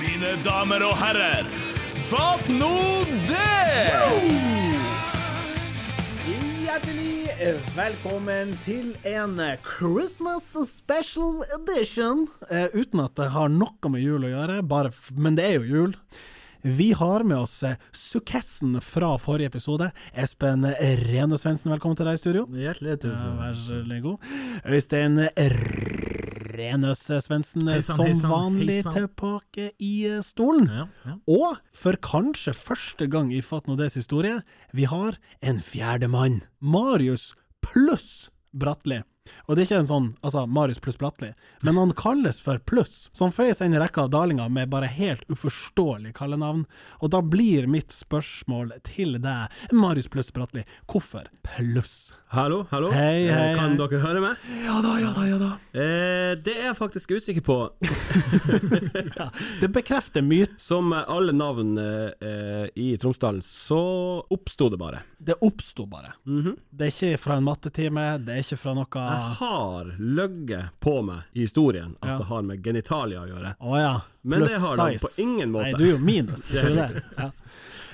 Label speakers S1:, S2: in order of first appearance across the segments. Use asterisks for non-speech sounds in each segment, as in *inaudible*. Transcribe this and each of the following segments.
S1: mine damer og herrer. Fatt nå det!
S2: Hjertelig velkommen til en Christmas special edition. Eh, uten at det har noe med jul å gjøre, bare f men det er jo jul. Vi har med oss eh, sukkessen fra forrige episode. Espen Rene Svendsen, velkommen til deg i studio.
S3: Hjertelig tusen
S2: Vær så god. Øystein Renøs Svendsen,
S3: Hei sann,
S2: som
S3: hei sann,
S2: vanlig
S3: hei sann.
S2: tilbake i eh, stolen.
S3: Ja, ja.
S2: Og for kanskje første gang i Fatt nå des historie, vi har en fjerdemann. Marius pluss Bratli. Og det er ikke en sånn altså Marius pluss Bratli, men han kalles for Pluss, som føyer seg inn i rekka av dalinger med bare helt uforståelig kallenavn. Og da blir mitt spørsmål til deg, Marius pluss Bratli, hvorfor Pluss?
S4: Hallo, hallo.
S2: Hei,
S4: Eh,
S2: hei,
S4: kan
S2: hei.
S4: dere høre meg?
S2: Ja da, ja da, ja da.
S4: Eh, det er jeg faktisk usikker på.
S2: Det bekrefter myt.
S4: Som eh, alle navn eh, eh, i Tromsdalen, så oppsto det bare.
S2: Det oppsto bare. Det er ikke fra en mattetime, det er ikke fra noe
S4: Jeg har løyet på meg i historien at
S2: Ja.
S4: det har med genitalia å gjøre.
S2: Å ja.
S4: Men det har de på ingen måte.
S2: Nei, du er jo minus. det er jo det. Ja.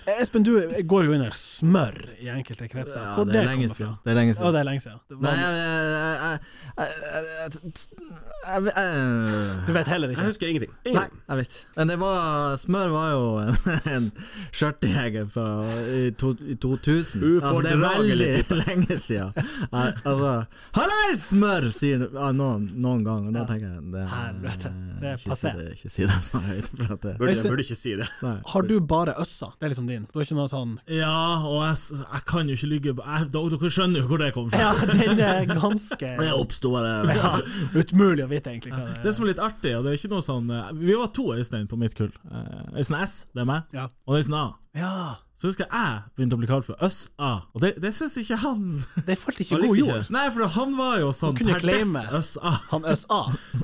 S2: Eh, Espen, du går jo under smør i enkelte kretser.
S3: Ja,
S2: Hvor
S3: det er
S2: det
S3: lenge
S2: kommer fra?
S3: siden. Det er lenge
S2: Å,
S3: siden.
S2: det er lenge siden. Det var,
S3: Nei, jeg jeg- jeg- jeg- jeg- jeg- jeg-
S2: du vet heller
S4: Jeg
S2: ikke.
S4: husker ingenting.
S3: Nei,
S4: Ingenting.
S3: jeg vet. Men det var Smør var jo en, en skjørtejeger fra i, to, i 2000. Altså, det er
S4: Ufordragelig
S3: veldig lenge siden. Al- Altså 'Hallais, smør!' sier ja, noen, noen gang, og da tenker jeg det,
S2: Helvete, det er
S3: ikke si
S2: passé.
S3: det, ikke si det sånn høyt. For at det,
S4: Burde,
S2: Øystein-
S4: jeg burde ikke si det.
S3: nei.
S2: Har du bare øssa? Det er liksom din. Du har ikke noe sånn
S5: Ja, og jeg, s- jeg kan jo ikke ligge jeg, Dere dere skjønner jo hvor det kom fra.
S2: Ja, den er ganske *laughs*
S3: Det oppsto bare
S2: ja, Utmulig å vite, egentlig. Hva
S5: Det som er litt artig, og det er ikke noe sånn eh, Vi var to Øystein på mitt kull. Eh, Øystein S, det er meg,
S2: Ja.
S5: og Øystein A.
S2: ja.
S5: Så husker jeg jeg begynte å bli kalt for Øst-A, og det, det syns ikke han.
S2: Det falt ikke
S4: Han
S2: i god
S4: likte
S2: jord.
S5: Nei, for han var jo sånn
S2: Du kunne
S5: per def
S2: claime.
S5: Øst-A.
S2: Han øs-a.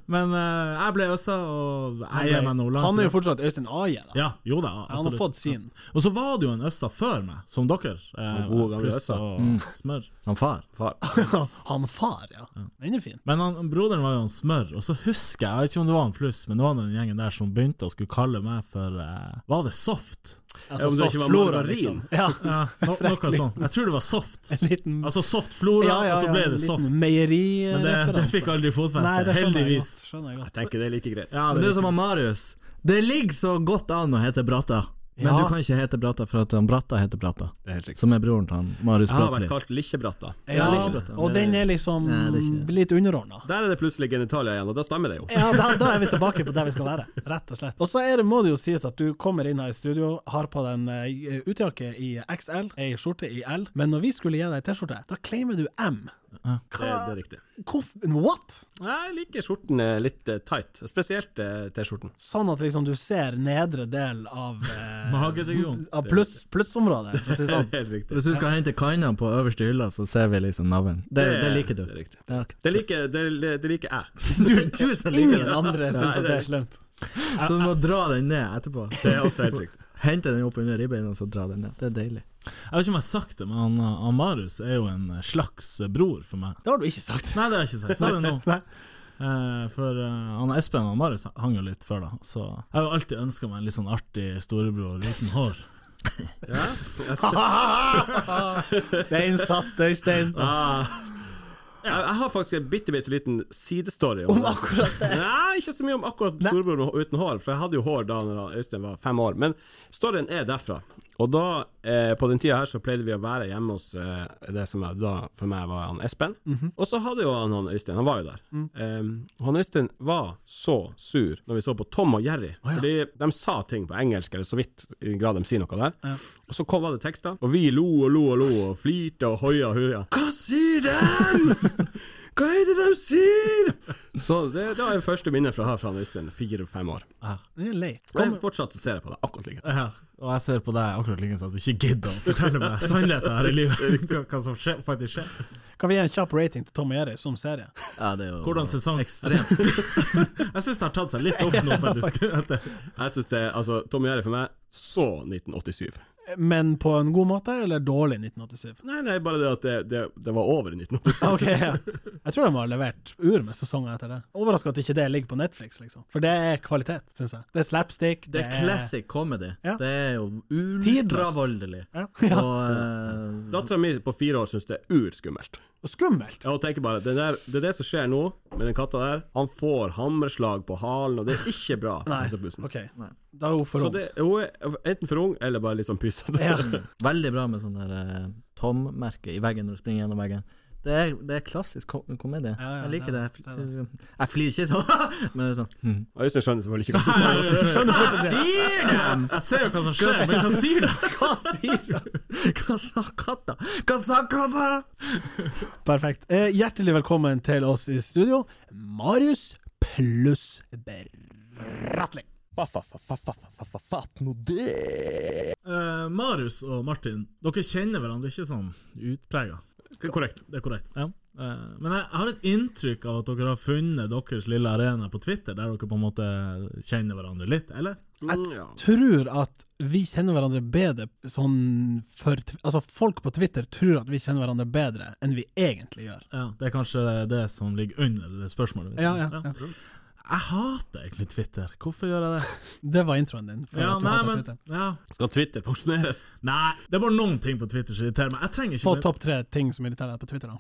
S5: Men eh, jeg ble Øst-A, og jeg gir meg nå langt.
S2: Han er jo
S5: for...
S2: fortsatt Øystein A-je, da.
S5: Ja, jo da,
S2: Han har
S5: absolutt.
S2: fått sin.
S5: Og så var det jo en Øst-A før meg, som dere. Eh,
S4: Og gode gamle
S5: pluss
S4: Øst-A.
S5: og
S2: Mm.
S5: smør.
S3: Han far.
S4: Far.
S2: Han far, ja. Den er fin.
S5: Men han, broderen var jo en smør, og så husker jeg, jeg vet ikke om det var en pluss, men det var den gjengen der som begynte å skulle kalle meg for eh, Var det soft?
S2: Altså,
S4: om det
S2: soft
S4: ikke var
S2: flora,
S4: margarin.
S2: liksom. Ja.
S5: Ja, no, noe sånt. Jeg tror det var soft.
S2: En *laughs* liten
S5: Altså soft flora, og så ble
S2: en
S5: det
S2: liten
S5: soft. Men det,
S2: Meierireferanse.
S5: det fikk aldri
S2: Nei,
S5: fotfeste,
S2: det skjønner jeg
S5: heldigvis.
S2: godt, Skjønner jeg godt.
S4: Tenker det er like greit.
S5: Ja,
S3: Men du
S5: det,
S3: som har Marius, det ligger så godt an å hete Bratta. Men
S2: Ja.
S3: du kan ikke hete Bratta for at han Bratta heter Bratta.
S4: Det er helt riktig.
S3: Som er broren til han Marius
S4: Jeg har vært
S3: Bratli.
S4: kalt Likkjebratta.
S2: Ja,
S3: det er ikke bra.
S2: og den er liksom
S3: Nei, det er ikke det.
S2: litt underordna.
S4: *laughs* Der er det plutselig genitalia igjen, og da stemmer det jo.
S2: Ja, da, da er vi tilbake på der vi skal være, rett og slett. Og så er det, må det jo sies at du kommer inn her i studio, har på deg en eh, utejakke i XL, ei skjorte i L, men når vi skulle gi deg T-skjorte, da claimer du M.
S4: Det, det er riktig.
S2: Hvorf what?
S4: Jeg liker skjorten eh, litt eh, tight, spesielt eh, T-skjorten.
S2: Sånn at liksom du ser nedre del av, eh,
S5: Mageregion.
S2: av pluss, plussområdet, for å si det *laughs* sånn.
S4: *laughs* Helt riktig.
S3: Hvis du skal hente kanna på øverste hylla, så ser vi liksom navlen. Det, det, liker du.
S4: Det er riktig.
S3: Ja, ok.
S4: Det liker, det, det liker jeg.
S3: *laughs* Du, du som liker
S2: Ingen
S3: det.
S2: andre syns at det er slemt.
S3: Så du må dra den ned etterpå.
S4: Det er også helt riktig.
S3: Hente den opp under ribbeina og så dra den ned. Det er deilig.
S5: Jeg vet ikke om jeg har sagt det, men han, eh, han Marius er jo en eh, slags bror for meg.
S2: Det har du ikke *laughs* sagt.
S5: Nei, det har jeg ikke sagt. Sa det nå.
S2: *laughs* Nei.
S5: Eh, for eh, han Espen og Marius hang jo litt før, da. Så jeg har jo alltid ønska meg en litt sånn artig storebror uten hår.
S2: Den satt, Øystein.
S4: Ah. Jeg, jeg har faktisk en bitte, bitte liten sidestory
S2: Om akkurat *laughs*
S4: det. *laughs* Nei, ikke så mye om akkurat storebror med- uten hår, for jeg hadde jo hår da når Øystein var fem år. Men storyen er derfra. Og da, eh, på den tida her, så pleide vi å være hjemme hos eh, det som jeg, da for meg var han Espen. Og så hadde jo han, han Øystein, han var jo der. Eh, han Øystein var så sur når vi så på Tom og Jerry, fordi de sa ting på engelsk, eller så vidt i grad de sier noe der. Og så kom det tekster, og vi lo og lo og lo, og flirte og hoia og hurra. Hva sier den?! Hva er det de sier?! Så det, det var det første minnet fra her fra han Øystein, fire-fem år.
S2: Den er lei.
S4: Og jeg fortsatt så ser jeg på det akkurat like.
S5: Ja, og jeg ser på deg akkurat like sånn at du ikke gidder å fortelle meg sannheten her i livet. *laughs* Hva, hva som skjer, faktisk skjer.
S2: Kan vi gi en kjapp rating til Tom og Jerry som serie?
S3: Ja, det er jo
S5: Hvordan sesong
S3: Ekstremt.
S5: *laughs* Jeg syns det har *laughs* tatt seg litt opp nå, faktisk. At det-
S4: Jeg synes det, altså, Tom Jerry for meg, så 1987.
S2: men på en god måte, eller dårlig 1987?
S4: Nei, nei, bare det at det, det, det var over i 1987.
S2: *laughs* Ok, ja. *laughs* Jeg tror de har levert ur med sesonger etter det. Overraska at ikke det ligger på Netflix, liksom. For det er kvalitet, syns jeg. Det er slapstick.
S3: Det er classic comedy.
S2: Ja.
S3: Det er jo
S2: Tidløst.
S3: ultravoldelig.
S2: Ja. *laughs* Ja.
S3: Og eh,
S4: Dattera mi på fire år syns det er urskummelt.
S2: Og skummelt.
S4: Ja, og tenker bare, det, der, det er det som skjer nå med den katta der. Han får hammerslag på halen, og det er ikke bra.
S2: Nei.
S4: etter bussen.
S2: OK. Da er hun for
S4: Så
S2: ung.
S4: det, hun er enten for ung, eller bare litt sånn pysete.
S2: Ja.
S3: veldig bra med sånn der eh, Tom-merke i veggen når du springer gjennom veggen. Det er, det er klassisk ko komedie.
S2: Ja, ja,
S3: jeg liker det.
S2: det
S3: Jeg, fl- jeg flirer ikke sånn, *laughs* men det er sånn hm.
S4: Øystein skjønner selvfølgelig ikke hva det er.
S3: Sier dem!
S5: Jeg ser jo hva som skjer, men hva sier du?
S3: Hva sier du? Hva sa katta? Hva sa katta?
S2: Perfekt. Eh, hjertelig velkommen til oss i studio, Marius pluss Bratling.
S1: Fatt nå det!
S5: *laughs* Eh, Marius og Martin, dere kjenner hverandre ikke sånn utprega.
S4: Korrekt.
S5: Det er korrekt. Ja. Eh, men jeg har et inntrykk av at dere har funnet deres lille arena på Twitter, der dere på en måte kjenner hverandre litt, eller?
S4: Mm, ja.
S2: Tror at vi kjenner hverandre bedre sånn for Altså, folk på Twitter tror at vi kjenner hverandre bedre enn vi egentlig gjør.
S5: Ja, Det er kanskje det som ligger under det spørsmålet. mitt.
S2: Ja, ja, ja.
S5: Jeg hater egentlig Twitter. Hvorfor gjør jeg det?
S2: Det var introen din. For
S5: Ja,
S2: at du
S5: nei,
S2: hater
S5: men,
S2: Twitter.
S5: ja.
S4: Skal Twitter pensjoneres?
S5: nei, det er bare noen ting på Twitter som irriterer meg. Jeg trenger
S2: Få
S5: ikke
S2: topp tre ting som irriterer deg på Twitter. da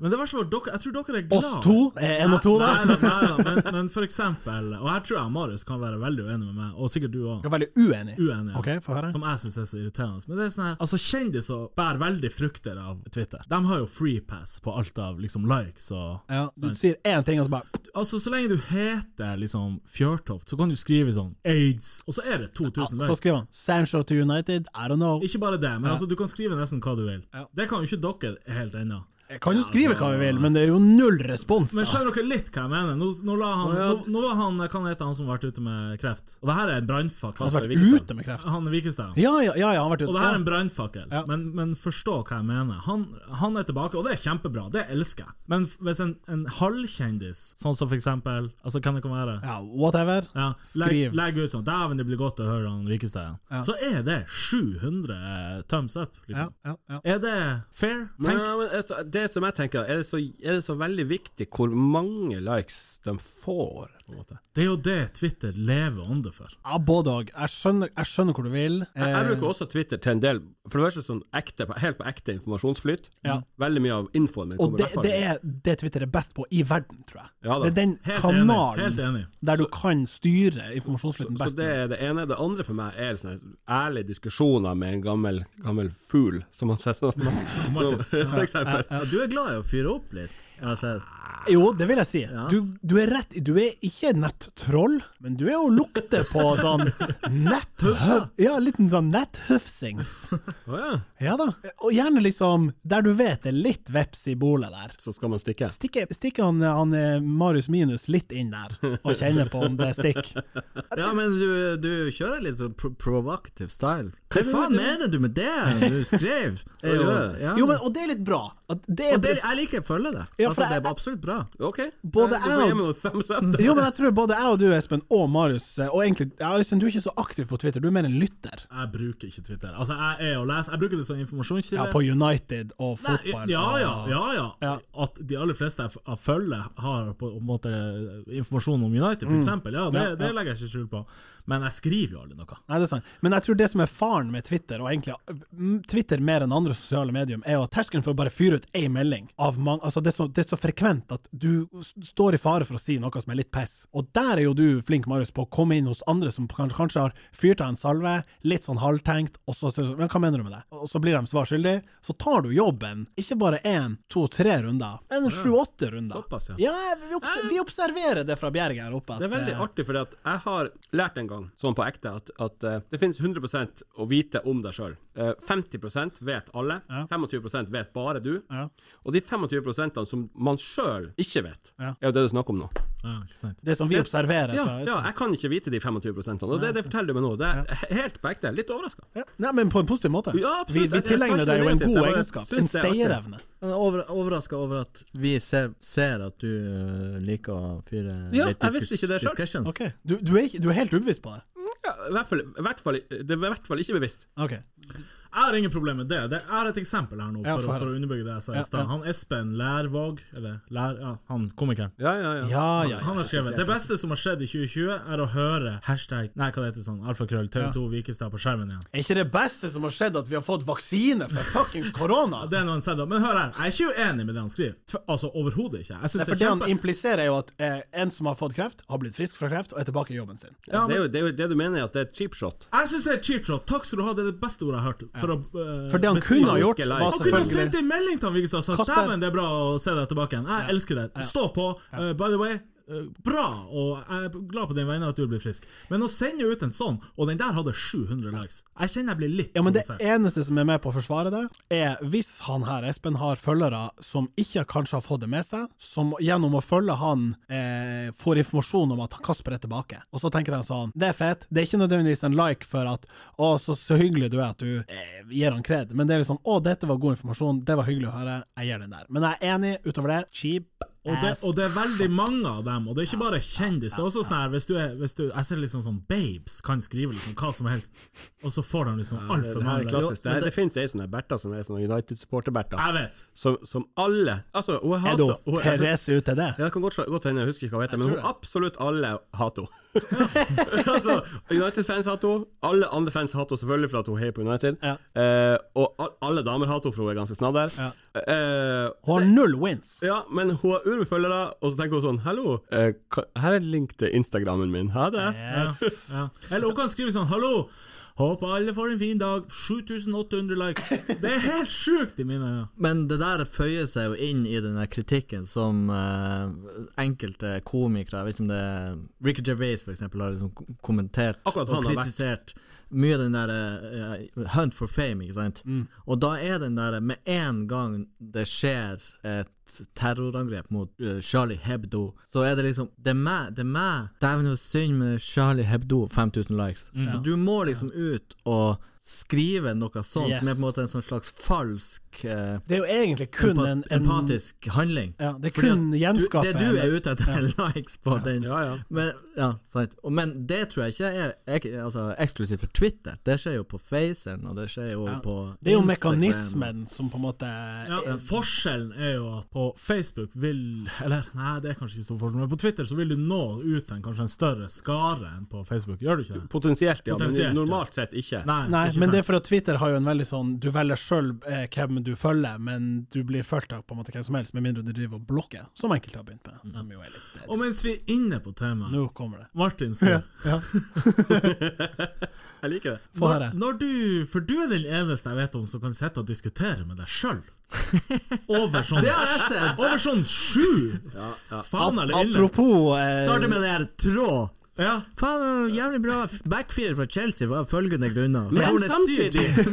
S5: Men det verste var dere, jeg tror dere er glad
S2: Oss to er én og to, da.
S5: Nei, nei, nei, nei, men, men for eksempel, og her tror jeg Marius kan være veldig uenig med meg, og sikkert du òg,
S2: Jeg er veldig uenig.
S5: uenig,
S2: OK, få høre.
S5: som jeg syns er så irriterende. Men det er sånn her, altså kjendiser bærer veldig frukter av Twitter. De har jo free pass på alt av liksom likes og
S2: Ja, du sier én ting, og så bare
S5: Altså, så lenge du heter liksom Fjørtoft, så kan du skrive sånn aids, og så er det
S2: Så
S5: 2000 likes.
S2: skriver han 'Sancho to United', I don't know.
S5: Ikke bare det, men altså, du kan skrive nesten hva du vil.
S2: Ja.
S5: Det kan jo ikke dere helt ennå.
S2: Jeg kan jo skrive hva vi vil, men det er jo null respons,
S5: Men
S2: da.
S5: skjønner dere litt hva jeg mener? Nå, nå, la han, nå, nå var han hva han heter han som har vært ute med kreft. Og det her er en brannfakkel.
S2: Han har vært ute med kreft.
S5: Han Vikestad.
S2: Ja, ja, ja, ja han har vært ute.
S5: Og det her er en
S2: Ja.
S5: brannfakkel,
S2: Ja.
S5: men, men forstå hva jeg mener. Han, han er tilbake, og det er kjempebra. Det elsker jeg. Men f- hvis en, en halvkjendis, sånn som for eksempel Altså, hvem det kan være?
S2: ja, whatever.
S5: Ja,
S2: Skriv.
S5: legg, legg ut sånn Dæven, det blir godt å høre han Vikestad igjen.
S2: Ja.
S5: Så er det 700 thumbs up,
S2: Ja,
S5: liksom.
S2: ja, ja.
S5: Er det fair?
S4: Men, ja, men altså, det som jeg tenker, er det, så, er det så veldig viktig hvor mange likes de får? På en måte?
S5: Det er jo det Twitter lever ånde for.
S2: ja både òg. Jeg, skjønner- jeg skjønner hvor du vil.
S4: Jeg, jeg
S2: Eh,
S4: bruker også Twitter til en del For det verste sånn ekte, helt på ekte informasjonsflyt.
S2: Ja.
S4: Veldig mye av infoen min
S2: Eh, og
S4: kommer
S2: det,
S4: derfra.
S2: det er det Twitter er best på i verden, tror jeg.
S4: Ja
S2: det
S4: da.
S2: er den
S5: Helt
S2: kanalen
S5: enig. Helt enig.
S2: der du kan styre informasjonsflyten
S4: Så
S2: best.
S4: det er det ene. Det andre for meg er sånne ærlige diskusjoner med en gammel, gammel fugl, som man setter
S2: *laughs*
S4: Martin, *laughs* for eksempel.
S3: Ja, du er glad i å fyre opp litt. Altså,
S2: Jo, det vil jeg si. Du, du er rett. Du er ikke nettroll, men du er å lukte på
S4: *laughs*
S2: sånn netthøv... Ja, litt sånn netthøfsings.
S4: *laughs* Å ja,
S2: Ja da. Og gjerne liksom der du vet det er litt veps i bolet der.
S4: så skal man stikke.
S2: Stikke, stikke han, han eh, Marius Minus litt inn der, og kjenne på om det stikker.
S3: ja, men du, du kjører litt sånn pro provocative style. Hva faen mener du med det du skrev?
S2: *laughs*
S3: Er jo,
S4: gjør det.
S3: ja.
S2: Jo, men, og det er litt bra. At det er,
S3: og det, jeg liker å følge det.
S2: Ja, for
S3: altså, det
S2: jeg-
S3: er absolutt bra.
S4: OK.
S2: Både
S4: Du får
S2: jeg
S4: gi meg noen thumbs up.
S2: *laughs* jo, men jeg tror både jeg og du, Espen, og Marius, eh, og egentlig ja, Øystein, du er ikke så aktiv på Twitter, du er mer en lytter.
S5: Jeg bruker ikke Twitter. Altså, jeg er å lese. Jeg bruker det som informasjonskilde.
S2: Ja, på United og
S5: Nei,
S2: fotball.
S5: ja, ja,
S2: og-
S5: ja, ja.
S2: Ja.
S5: At de aller fleste jeg f- jeg følger, har på en måte informasjon om United, f.eks. Ja, det,
S2: Mm. Ja,
S5: det
S2: ja.
S5: legger jeg ikke skjul på. Men jeg skriver jo aldri noe.
S2: Nei, det er sant. Men jeg tror det som er faren med Twitter, og egentlig mm, Twitter mer enn andre sosiale medium, er jo at terskelen for å bare fyre ut ei melding av mange Altså, det er, så, det er så frekvent at du s- står i fare for å si noe som er litt piss. Og der er jo du flink, Marius, på å komme inn hos andre som kanskje, kanskje har fyrt av en salve, litt sånn halvtenkt, og så sier du sånn Men hva mener du med det? Og så blir de svar skyldig. Så tar du jobben, ikke bare én, to, tre runder, men sju-åtte runder.
S4: Såpass, ja.
S2: Ja, vi, obs vi observerer det fra bjerget her oppe. at,
S4: Det er veldig
S2: eh,
S4: artig, fordi at jeg har lært en gang, sånn på ekte, at, at eh, det finnes 100 å vite om deg sjøl. 50 vet alle, 25 vet bare du.
S2: Ja.
S4: Og de 25 som man sjøl ikke vet,
S2: Ja.
S4: er jo det du snakker om nå.
S5: Ja, ikke sant?
S2: Det som vi observerer
S4: Ja,
S2: fra
S4: ja, jeg kan ikke vite de 25 og det, det forteller du meg nå. Det er helt på ekte. Litt overraska.
S2: Ja. Nei, men på en positiv måte.
S4: Ja, absolutt.
S2: Vi, vi
S4: Jeg- jeg
S2: tilegner
S4: tar
S2: deg jo
S4: ikke
S2: en
S4: det ut.
S2: god
S4: Jeg bare
S2: egenskap.
S4: syns
S2: En
S4: det er artig.
S2: stayerevne.
S3: Jeg er Over, Overraska over at vi ser, ser at du øh, liker å fyre
S4: Ja,
S3: litt
S4: jeg visste ikke det selv.
S3: discussions.
S2: Ok. Du, du, er, ikke- du er helt ubevisst på det.
S4: Mm, Ja, i hvert fall, i hvert fall, det er i hvert fall ikke bevisst.
S2: OK.
S5: Jeg har ingen problemer med det. det jeg har et eksempel her nå,
S2: Ja,
S5: for,
S2: få
S5: å-
S2: høre.
S5: for å underbygge det jeg sa
S2: Ja,
S5: i stad.
S2: ja.
S5: Han Espen Lærvåg, eller Lær... Ja, han komikeren.
S4: Ja, ja,
S2: Ja,
S4: ja.
S2: ja,
S5: Han
S2: ja.
S5: har skrevet Det beste som har skjedd i 2020, er å høre hashtag Nei, hva det heter sånn? Alfakrøll TV2 Vikestad på skjermen igjen.
S2: Er ikke det beste som har skjedd, at vi har fått vaksine for fuckings korona?
S5: Ja, Det er noe han sier da. Men hør her, jeg er ikke uenig med det han skriver. Tve- Altså overhodet ikke. Jeg
S2: Nei,
S5: synes
S2: for
S5: det
S2: det
S5: er
S2: han
S5: kjempe...
S2: impliserer, er jo at eh, en som har fått kreft, har blitt frisk fra kreft og er tilbake i jobben sin.
S5: Ja,
S4: det, er
S5: men,
S4: jo, det er jo det du mener, at det er et cheap shot.
S5: jeg synes det er cheap shot. Takk skal du ha, det er det beste ordet jeg har hørt. For, å, eh,
S2: For det han
S5: beskrive-
S2: kunne ha gjort,
S4: Han
S2: var
S5: Han kunne ha sendt
S2: selvfølgelig
S5: en melding til han Vigestad og sagt
S2: Kasper.
S5: dæven, det er bra å se deg tilbake igjen. Jeg elsker deg. Stå på. Eh, by the way, eh, bra, og jeg er glad på din vegne at du blir frisk. Men å sende ut en sånn, og den der hadde 700 likes Jeg kjenner jeg blir litt
S2: ja, men Det
S5: provosert.
S2: eneste som er med på å forsvare det, er hvis han her, Espen, har følgere som ikke kanskje har fått det med seg, som gjennom å følge han eh, får informasjon om at Kasper er tilbake. Og så tenker han sånn Det er fett. Det er ikke nødvendigvis en like for at Å, så, så hyggelig du er at du eh, gir han kred. Men det er liksom Å, dette var god informasjon. Det var hyggelig å høre. Jeg gir den der. Men jeg er enig utover det. Cheap
S5: Og det,
S2: ass.
S5: og det er veldig mange av dem, og det er ikke bare kjendis. Det er også sånn her, hvis du er hvis du, Jeg ser liksom sånn babes kan skrive liksom hva som helst, og så får de liksom
S4: Det,
S5: altfor
S4: det, her er
S5: mange likes.
S4: klassisk. det, her- det finnes ei sånn her Bertha som er sånn United-supporter-Bertha,
S5: Jeg vet.
S4: som, som alle Altså, hun
S2: Er
S4: hater
S2: da
S4: hun-
S2: Therese ute det?
S4: Ja, det kan godt, godt hende, jeg husker ikke hva hun heter, men
S2: tror
S4: hun,
S2: det.
S4: absolutt alle hater henne. *laughs* altså, United-fans hater henne, alle andre fans hater henne selvfølgelig for at hun heier på United,
S2: Ja.
S4: eh, og al alle damer hater henne for hun er ganske snadder.
S2: Ja.
S4: Eh,
S2: Hun har null wins.
S4: ja, men hun har urmye følgere, og så tenker hun sånn Hallo, eh, hva- her er link til Instagrammen min. Ha det.
S2: Yes.
S5: Ja. Eller hun kan skrive sånn Hallo! Håper alle får en fin dag. 7800 likes. Det er helt sjukt i mine øyne.
S3: Men det der føyer seg jo inn i den der kritikken som eh, enkelte komikere Jeg vet ikke om det er Ricky Gervais for eksempel, har liksom ko- kommentert
S4: Akkurat han
S3: og
S4: har vært.
S3: kritisert mye den der eh, Hunt for fame, ikke sant?
S4: Mm.
S3: Og da er den der Med en gang det skjer et terrorangrep mot eh, Charlie Hebdo, så er det liksom Det er meg, det er meg. Dæven, det er synd med Charlie Hebdo, 5000 likes.
S4: Mm.
S3: Så du må liksom ut og skrive noe sånt, som er
S2: Yes.
S3: på en måte en sånn slags falsk eh,
S2: Det er jo egentlig kun
S3: Empa-
S2: en, en
S3: empatisk handling.
S2: Ja, det er
S3: Fordi
S2: kun
S3: at
S2: gjenskape
S3: Du, det du er
S2: eller-
S3: ute etter, er *laughs* likes på den.
S4: Ja, ja.
S3: Men, ja, sant. Og, men det tror jeg ikke er ek, altså, eksklusivt for Twitter. Det skjer jo på Faceren, og det skjer jo
S2: Ja.
S3: på
S2: Det er jo
S3: Instagram.
S2: mekanismen som på en måte
S5: Ja, forskjellen er jo at på Facebook vil Eller nei, det er kanskje ikke stor forskjell, men på Twitter så vil du nå ut til en- kanskje en større skare enn på Facebook. Gjør du ikke det?
S4: Potensielt, ja,
S5: Potensielt,
S4: men
S5: ja.
S4: normalt sett ikke.
S5: Nei,
S2: Nei,
S5: ikke
S2: men
S5: sant?
S2: det er for at Twitter har jo en veldig sånn Du velger sjøl eh, hvem du følger, men du blir fulgt av på en måte hvem som helst, med mindre du driver og blokker, som enkelte har begynt med. Som jo er litt
S5: Mm.
S2: eh,
S5: Og mens vi er inne på temaet
S2: Nå kommer det.
S5: Martin, skal,
S4: Jeg liker det.
S2: Få høre.
S5: når du For du er den eneste jeg vet om som kan sitte og diskutere med deg
S2: *laughs*
S5: sjøl. Over sånn
S3: har jeg sett.
S5: Over sånn sju faen eller ille.
S2: Apropos eh,
S3: Starter med det her tråd.
S5: Ja,
S3: Faen, det var jævlig bra f- backfire fra Chelsea var av følgende grunner. Så
S4: Men
S3: gjorde det sykt.
S4: samtidig.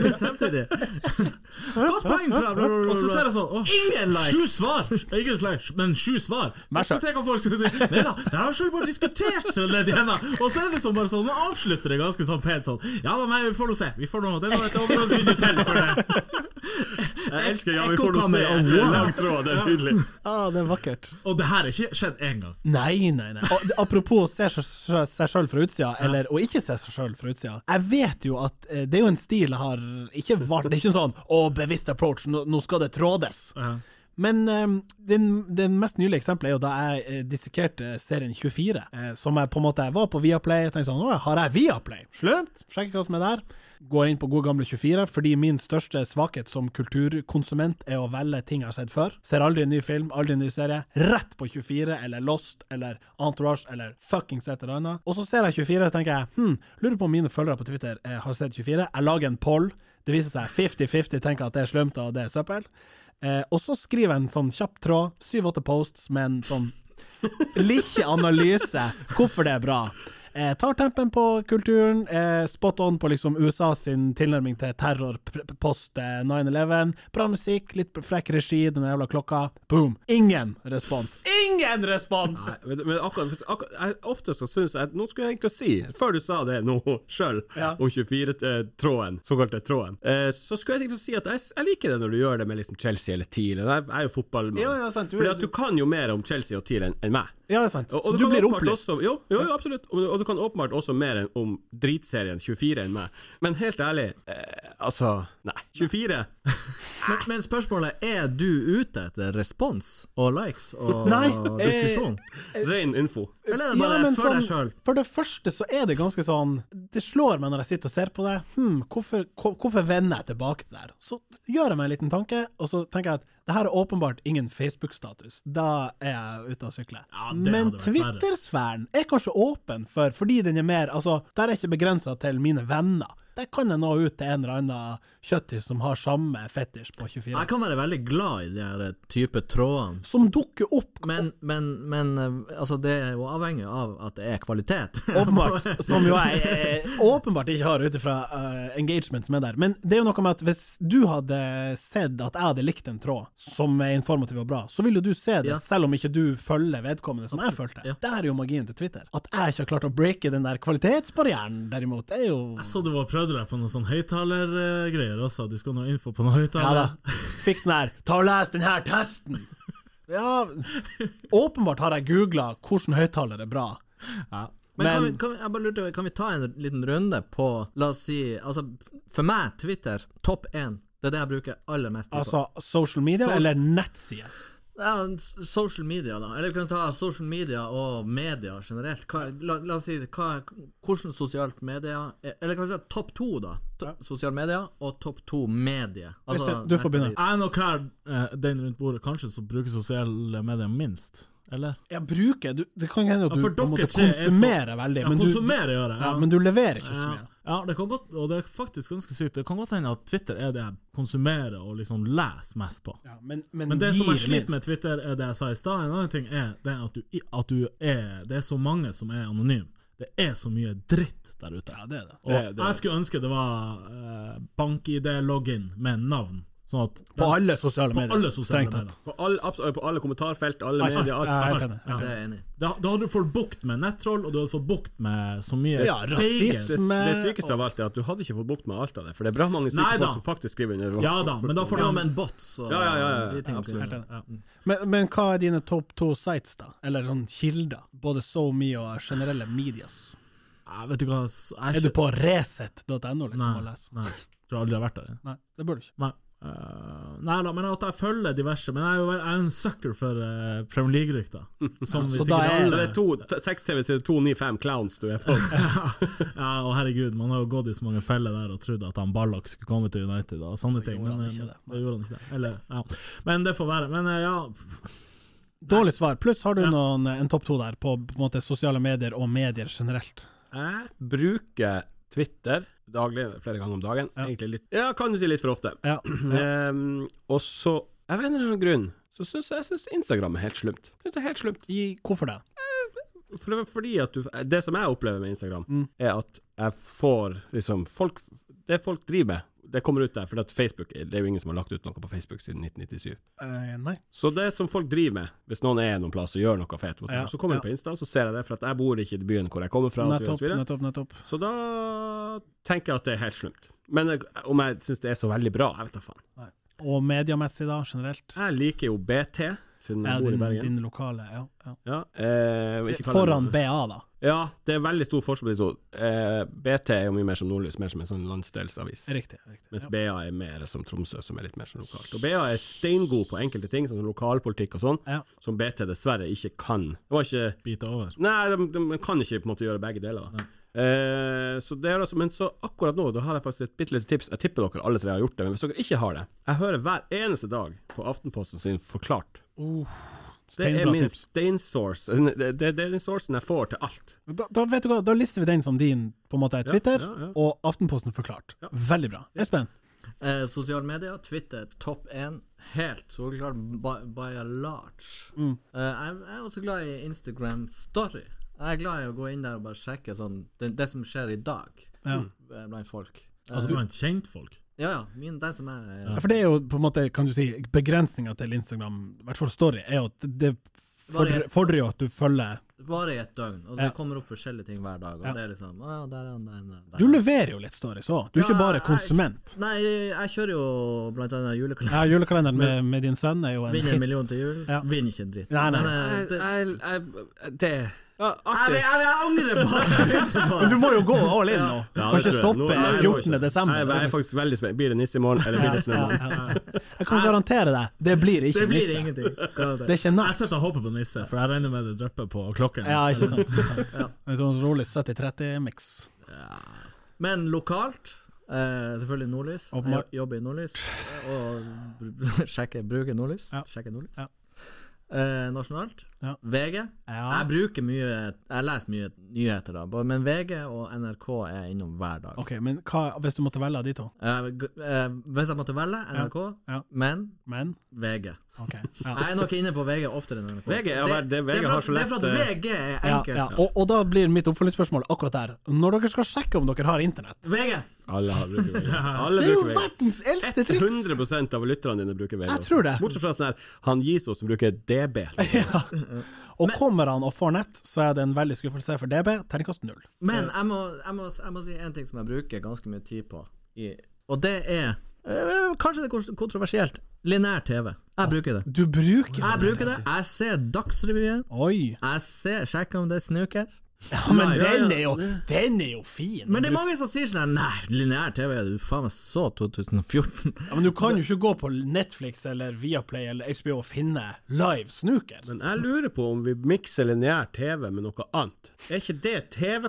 S3: *laughs* men samtidig. Godt poeng fra bla, bla,
S2: *laughs*
S3: bla, bla.
S5: Og så ser jeg sånn åh,
S3: Ingen likes.
S5: Sju svar! Ikke slags, men sju svar.
S2: Vær
S5: Jeg skal
S2: så-
S5: se hva folk skal si. Nei da, det har selv bare diskutert så ned igjen. da. Og så er det sånn bare sånn, man avslutter det ganske sånn pent sånn. Ja da, nei, vi får nå se. Vi får nå, det er nå et overgangsvindu til for det.
S4: Jeg elsker ja, vi får nå se.
S3: Ekkokammer og
S4: Det er
S3: wow.
S4: Lang tråd, det er nydelig.
S2: ah, det er vakkert.
S5: Og det her er ikke skjedd én gang.
S2: Nei, nei, nei. Og, apropos å se seg- seg seg sjøl fra utsida, eller å ikke se seg sjøl fra utsida. Jeg vet jo at eh, det er jo en stil jeg har ikke vart. Det er ikke en sånn 'å, bevisst approach, nå, nå skal det trådes'. Men eh, den- det mest nylige eksempelet er jo da jeg eh, dissekerte serien 24, eh, som jeg på en måte jeg var på Viaplay. Jeg tenkte sånn, Å, har jeg Viaplay? Slømt, sjekker hva som er der. Går inn på god gamle 24, fordi min største svakhet som kulturkonsument er å velge ting jeg har sett før. Ser aldri en ny film, aldri en ny serie. Rett på 24, eller Lost, eller Entourage, eller fuckings et eller annet. Og så ser jeg 24, så tenker jeg, hm, lurer på om mine følgere på Twitter eh, har sett 24. Jeg lager en poll. Det viser seg 50-50, tenker at det er slømt og det er søppel. Eh, og så skriver jeg en sånn kjapp tråd, syv-åtte posts med en sånn lille analyse, hvorfor det er bra. Eh, tar tempen på kulturen, eh, spot on på liksom USA sin tilnærming til terror pr- pr- post eh, 9-11. Bra musikk, litt frekk regi, den jævla klokka. Boom! Ingen respons. Ingen respons!
S4: Vet du, Men akkurat, akkurat jeg ofte så syns jeg Nå skulle jeg egentlig si, før du sa det nå sjøl,
S2: Ja.
S4: om 24-tråden, såkalte tråden, eh, så skulle jeg egentlig si at jeg, jeg liker det når du gjør det med liksom Chelsea eller TIL. Jeg, jeg er jo fotballmann.
S2: Ja, ja, sant, du-
S4: Fordi at du kan jo mer om Chelsea og TIL enn enn meg.
S2: Ja, det er sant.
S4: Og,
S2: Så
S4: og
S2: du
S4: kan
S2: blir
S4: åpenbart
S2: opplyst.
S4: Også, jo, jo, jo, absolutt. Og, og du kan åpenbart også mer enn om dritserien 24 enn meg. Men helt ærlig, eh, altså Nei, 24?
S3: Men, men spørsmålet er du ute etter respons og likes og
S2: Nei, eh,
S3: diskusjon?
S4: Ren info.
S3: Eller er det bare
S2: men
S3: for deg
S2: sånn-
S3: sjøl?
S2: for det første så er det ganske sånn Det slår meg når jeg sitter og ser på det. Hm, hvorfor, hvor- hvorfor vender jeg tilbake til det her? Så gjør jeg meg en liten tanke, og så tenker jeg at det her er åpenbart ingen Facebook-status. Da er jeg ute og sykler.
S5: Ja, det hadde
S2: Men
S5: vært verre.
S2: Twitter-sfæren er kanskje åpen for, fordi den er mer Altså, der er jeg ikke begrensa til mine venner. Der kan jeg nå ut til en eller annen kjøttis som har samme fetisj på 24.
S3: Jeg kan være veldig glad i de her eh, type trådene.
S2: Som dukker opp,
S3: Men, men, men eh, altså, det er jo avhengig av at det er
S2: *laughs*
S3: kvalitet.
S2: Åpenbart. Som jo jeg
S3: *laughs*
S2: eh, åpenbart ikke har ut ifra eh, engagement som er der. Men det er jo noe med at hvis du hadde sett at jeg hadde likt en tråd som er informativ og bra, så vil jo du se det,
S3: Ja.
S2: selv om ikke du følger vedkommende som jeg fulgte.
S3: ja.
S2: Der er jo magien til Twitter. At jeg ikke har klart å breake den der kvalitetsbarrieren, derimot, er jo
S5: Jeg så du var prøvde deg på noen sånn høyttalergreier også. Du skulle ha noe info på noen
S2: Ja da.
S5: høyttaler.
S3: *laughs*
S2: Fiks den her. Ta og les den her testen! Ja, åpenbart har jeg googla hvordan høyttaler er bra.
S3: Men, kan,
S2: Men-
S3: vi, kan, vi, jeg bare lurte, kan vi ta en liten runde på La oss si altså, For meg, Twitter, topp én. Det er det jeg bruker aller mest tid på.
S2: Altså social media
S3: Social-
S2: eller nettsider.
S3: Ja, s- social media, da. Eller vi kan ta social media og media generelt. Hva, la, la oss si hva, hvordan sosialt media Eller kan vi si topp to, da. To, Sosiale medier og topp to medie. Altså,
S2: Hvis du- du får begynne.
S5: Jeg er nok her, eh, den rundt bordet, kanskje som bruker sosiale medier minst. Eller?
S2: Ja, bruke du, Det kan hende at
S5: Ja,
S2: du
S5: for
S2: på en måte
S5: dere tre er så-
S2: konsumerer veldig,
S5: Ja,
S2: men,
S5: konsumere gjør
S2: du,
S5: jeg.
S2: ja, men du leverer ikke så
S5: Ja,
S2: mye.
S5: ja, det kan godt, og det er faktisk ganske sykt. Det kan godt hende at Twitter er det jeg konsumerer og liksom leser mest på.
S2: Ja, men, men,
S5: Men det som
S2: gir
S5: jeg sliter med
S2: minst.
S5: Twitter, er det jeg sa i stad. En annen ting er det at du, i- at du er Det er så mange som er anonyme. Det er så mye dritt der ute.
S2: Ja, det er det.
S5: Og
S4: Det- det-
S5: jeg skulle ønske det var eh, bank-ID-login med navn, sånn at
S2: På alle sosiale
S5: på
S2: medier.
S5: alle sosiale
S2: strengt
S5: medier.
S2: tatt.
S4: På alle, abs- på alle kommentarfelt, alle
S2: Alt,
S4: medier,
S2: jeg er
S4: alt.
S2: helt enig.
S3: Det er jeg enig i.
S5: Da, da hadde du fått bukt med nettroll, og du hadde fått bukt med så mye
S2: Ja,
S5: feighet.
S2: rasisme.
S4: Det, det sykeste av alt er at du hadde ikke fått bukt med alt av det, for det er bra mange syke
S5: Nei da.
S4: folk som faktisk skriver under.
S5: Ja da, men da får du
S3: Ja, men bots og
S4: Ja, ja, ja, ja,
S3: de tingene.
S4: absolutt.
S2: Helt enig.
S5: Ja.
S2: Men, men hva er dine topp to sites, da? Eller sånn kilder? Både SoMe og generelle medias.
S5: Nei, Vet du hva s- jeg
S2: Er du på reset.no, liksom,
S5: Nei,
S2: og leser?
S5: nei. Tror aldri jeg har vært der. jeg.
S2: Nei, det burde du ikke.
S5: Nei. Eh, nei da, men at jeg følger diverse Men jeg er jo jeg er jo en sucker for eh,
S2: *laughs*
S5: Premier League-rykter. Som vi
S2: så
S5: sikkert
S2: da er-
S5: alle-
S4: Så *laughs* det er to, t- seks TV, så det er 295 clowns du er på.
S5: Ja, og herregud, man har jo gått i så mange feller der og trodd at han Ballack skulle komme til United og sånne ting.
S2: gjorde
S5: Men
S2: han ikke
S5: eh,
S2: det.
S5: det gjorde han ikke. det Eller, ja. Men det får være. Men eh, ja, f-
S2: Dårlig svar. Pluss har du
S5: Ja.
S2: noen, eh, en topp to der, på, på en måte sosiale medier og medier generelt.
S4: Jeg bruker Twitter daglig, flere ganger om dagen. Egentlig litt Ja, kan du si litt for *clears throat* ofte.
S2: Ja.
S4: Ehm, og så, av en eller annen grunn, så syns jeg, jeg synes Instagram er helt slumt. Synes det er helt slumt.
S2: I, hvorfor det?
S4: For det, er fordi at du, det som jeg opplever med Instagram,
S5: Mm.
S4: er at jeg får liksom folk, Det folk driver med, det kommer ut der. For at Facebook, det er jo ingen som har lagt ut noe på Facebook siden 1997.
S2: Eh, nei.
S4: Så det som folk driver med, hvis noen er noen plass og gjør noe fett,
S2: Ja,
S4: så kommer de
S2: ja.
S4: på Insta, så ser jeg det, for at jeg bor ikke i byen hvor jeg kommer fra. og så videre, og
S2: Nettopp,
S4: så videre.
S2: nettopp, nettopp.
S4: Så da tenker jeg at det er helt slumt. Men eh, om jeg syns det er så veldig bra, jeg vet da faen.
S2: Og mediemessig, da, generelt.
S4: Jeg liker jo BT, siden
S2: Ja,
S4: jeg bor i
S2: din,
S4: Bergen.
S2: din lokale, ja. ja.
S4: Ja, eh, ikke kall
S2: Foran
S4: dem-
S2: BA, da.
S4: Ja, det er veldig stor forskjell på de to. Eh, BT er jo mye mer som Nordlys, mer som en sånn landsdelsavis.
S2: Riktig. riktig.
S4: Mens
S2: Ja.
S4: BA er mer som Tromsø, som er litt mer sånn lokalt. Og BA er steingod på enkelte ting, sånn som lokalpolitikk og sånn,
S2: Ja.
S4: som BT dessverre ikke kan. Det var ikke
S5: bite over.
S4: Nei, de, de kan ikke på en måte gjøre begge deler. da. Eh, så det er altså, men så akkurat nå Da har jeg faktisk et bitte lite tips. Jeg tipper dere alle tre har gjort det, men hvis dere ikke har det Jeg hører hver eneste dag på Aftenposten sin Forklart. det er
S2: steinbra
S4: min
S2: tips.
S4: steinsource. Det, det, det er den sourcen jeg får til alt.
S2: Da, da, vet du hva, da lister vi den som din på en måte Twitter
S4: ja, ja.
S2: og Aftenposten forklart. Veldig bra. Espen,
S3: Eh, sosiale medier, Twitter, topp én. Helt soleklart by, by a large. Eh, jeg, jeg er også glad i Instagram Story. Jeg er glad i å gå inn der og bare sjekke sånn, det, det som skjer i dag eh, blant folk. Eh,
S5: Altså blant kjentfolk.
S3: ja, ja. Min, den som er eh,
S2: for det er jo på en måte, kan du si, begrensninga til Instagram, i hvert fall story, er jo at det fordrer,
S3: Variert.
S2: fordrer jo at du følger
S3: varer i et døgn, og
S2: Ja.
S3: det kommer opp forskjellige ting hver dag. Og
S2: Ja.
S3: det er liksom Å ja, der er han, der er han, der er han.
S2: Du leverer jo litt stories òg, du er ikke
S3: Ja,
S2: bare
S3: jeg-
S2: konsument.
S3: Nei, jeg kjører jo blant annet
S2: Ja,
S3: julekalender.
S2: Julekalenderen med, med din sønn er jo en
S3: *laughs* Vinner en
S2: hit.
S3: million til jul.
S2: Ja.
S3: Vinner ikke en dritt.
S2: Nei, nei.
S3: Men, eh, det, jeg,
S4: jeg, jeg, det ja,
S3: jeg,
S4: Artig.
S3: jeg, jeg angrer på at *laughs* jeg begynte på
S2: Men du
S3: det.
S2: må jo gå all in nå.
S4: Ja,
S2: Kan ikke
S4: det tror jeg. Nå-
S2: stoppe
S4: Nei, jeg går
S2: 14.
S4: ikke.
S2: desember.
S4: Nei, Jeg, er faktisk veldig spent. Blir det nisse i morgen, eller blir det snø? i
S2: Ja,
S4: morgen?
S2: ja, ja. Jeg kan garantere deg, det blir ikke
S3: Det blir
S2: nisse.
S3: ingenting.
S2: Det er ikke
S5: Jeg
S2: natt.
S5: sitter og håper på nisse, for jeg regner med det drypper på klokken.
S2: Ja, ikke sant. Ikke
S3: Ja.
S2: sant. *laughs* En sånn rolig 70-30-miks.
S3: Men lokalt eh, selvfølgelig nordlys. Jeg
S2: Åpenbart.
S3: jobber i nordlys. eh, Og *laughs* br- sjekker, bruker nordlys.
S2: Ja.
S3: Sjekker nordlys.
S2: Ja.
S3: Eh, nasjonalt.
S2: Ja.
S3: VG.
S2: Ja.
S3: Jeg bruker mye Jeg leser mye nyheter, da. bare- Men VG og NRK er innom hver dag.
S2: Ok, men hva hvis du måtte velge av de to?
S3: Eh, g- eh, hvis jeg måtte velge NRK,
S2: Ja.
S3: men
S2: Men?
S3: VG.
S2: Ok. Ja. *laughs*
S3: Jeg er nok inne på VG oftere enn NRK.
S4: VG er- det-
S3: det,
S4: VG
S3: er for
S4: har
S3: at,
S4: så
S3: det er for
S4: lett, eh,
S3: at VG er
S2: Ja,
S3: enkelt.
S2: eh, ja. Og, og da blir mitt oppfølgingsspørsmål akkurat der. Når dere skal sjekke om dere har internett
S3: VG!
S4: Alle har bruker VG. Alle
S2: Det er jo
S4: bruker VG.
S2: verdens eldste triks!
S4: 100 av lytterne dine bruker VG.
S2: Jeg
S4: også.
S2: tror det.
S4: Bortsett fra sånn her Han Giso som bruker DB.
S2: *laughs* Ja. Og kommer han og får nett, så er det en veldig skuffelse for DB. Terningkast null.
S3: Men jeg må, jeg, må, jeg må si en ting som jeg bruker ganske mye tid på, i, og det er eh, Kanskje det er kont- kontroversielt. Linær TV.
S2: Ah,
S3: Jeg bruker det.
S2: Du bruker
S3: Jeg bruker det. Jeg ser Dagsrevyen.
S2: Oi!
S3: Jeg ser, sjekker om det er snooker.
S2: Ja, men den er jo, den er jo fin!
S3: Men det er mange som sier sånn her, Nei, linær TV er du faen meg så 2014.
S2: Ja, men du kan jo ikke gå på Netflix eller Viaplay eller HBO og finne live snooker.
S4: Men jeg lurer på om vi mikser lineær TV med noe annet. Er ikke det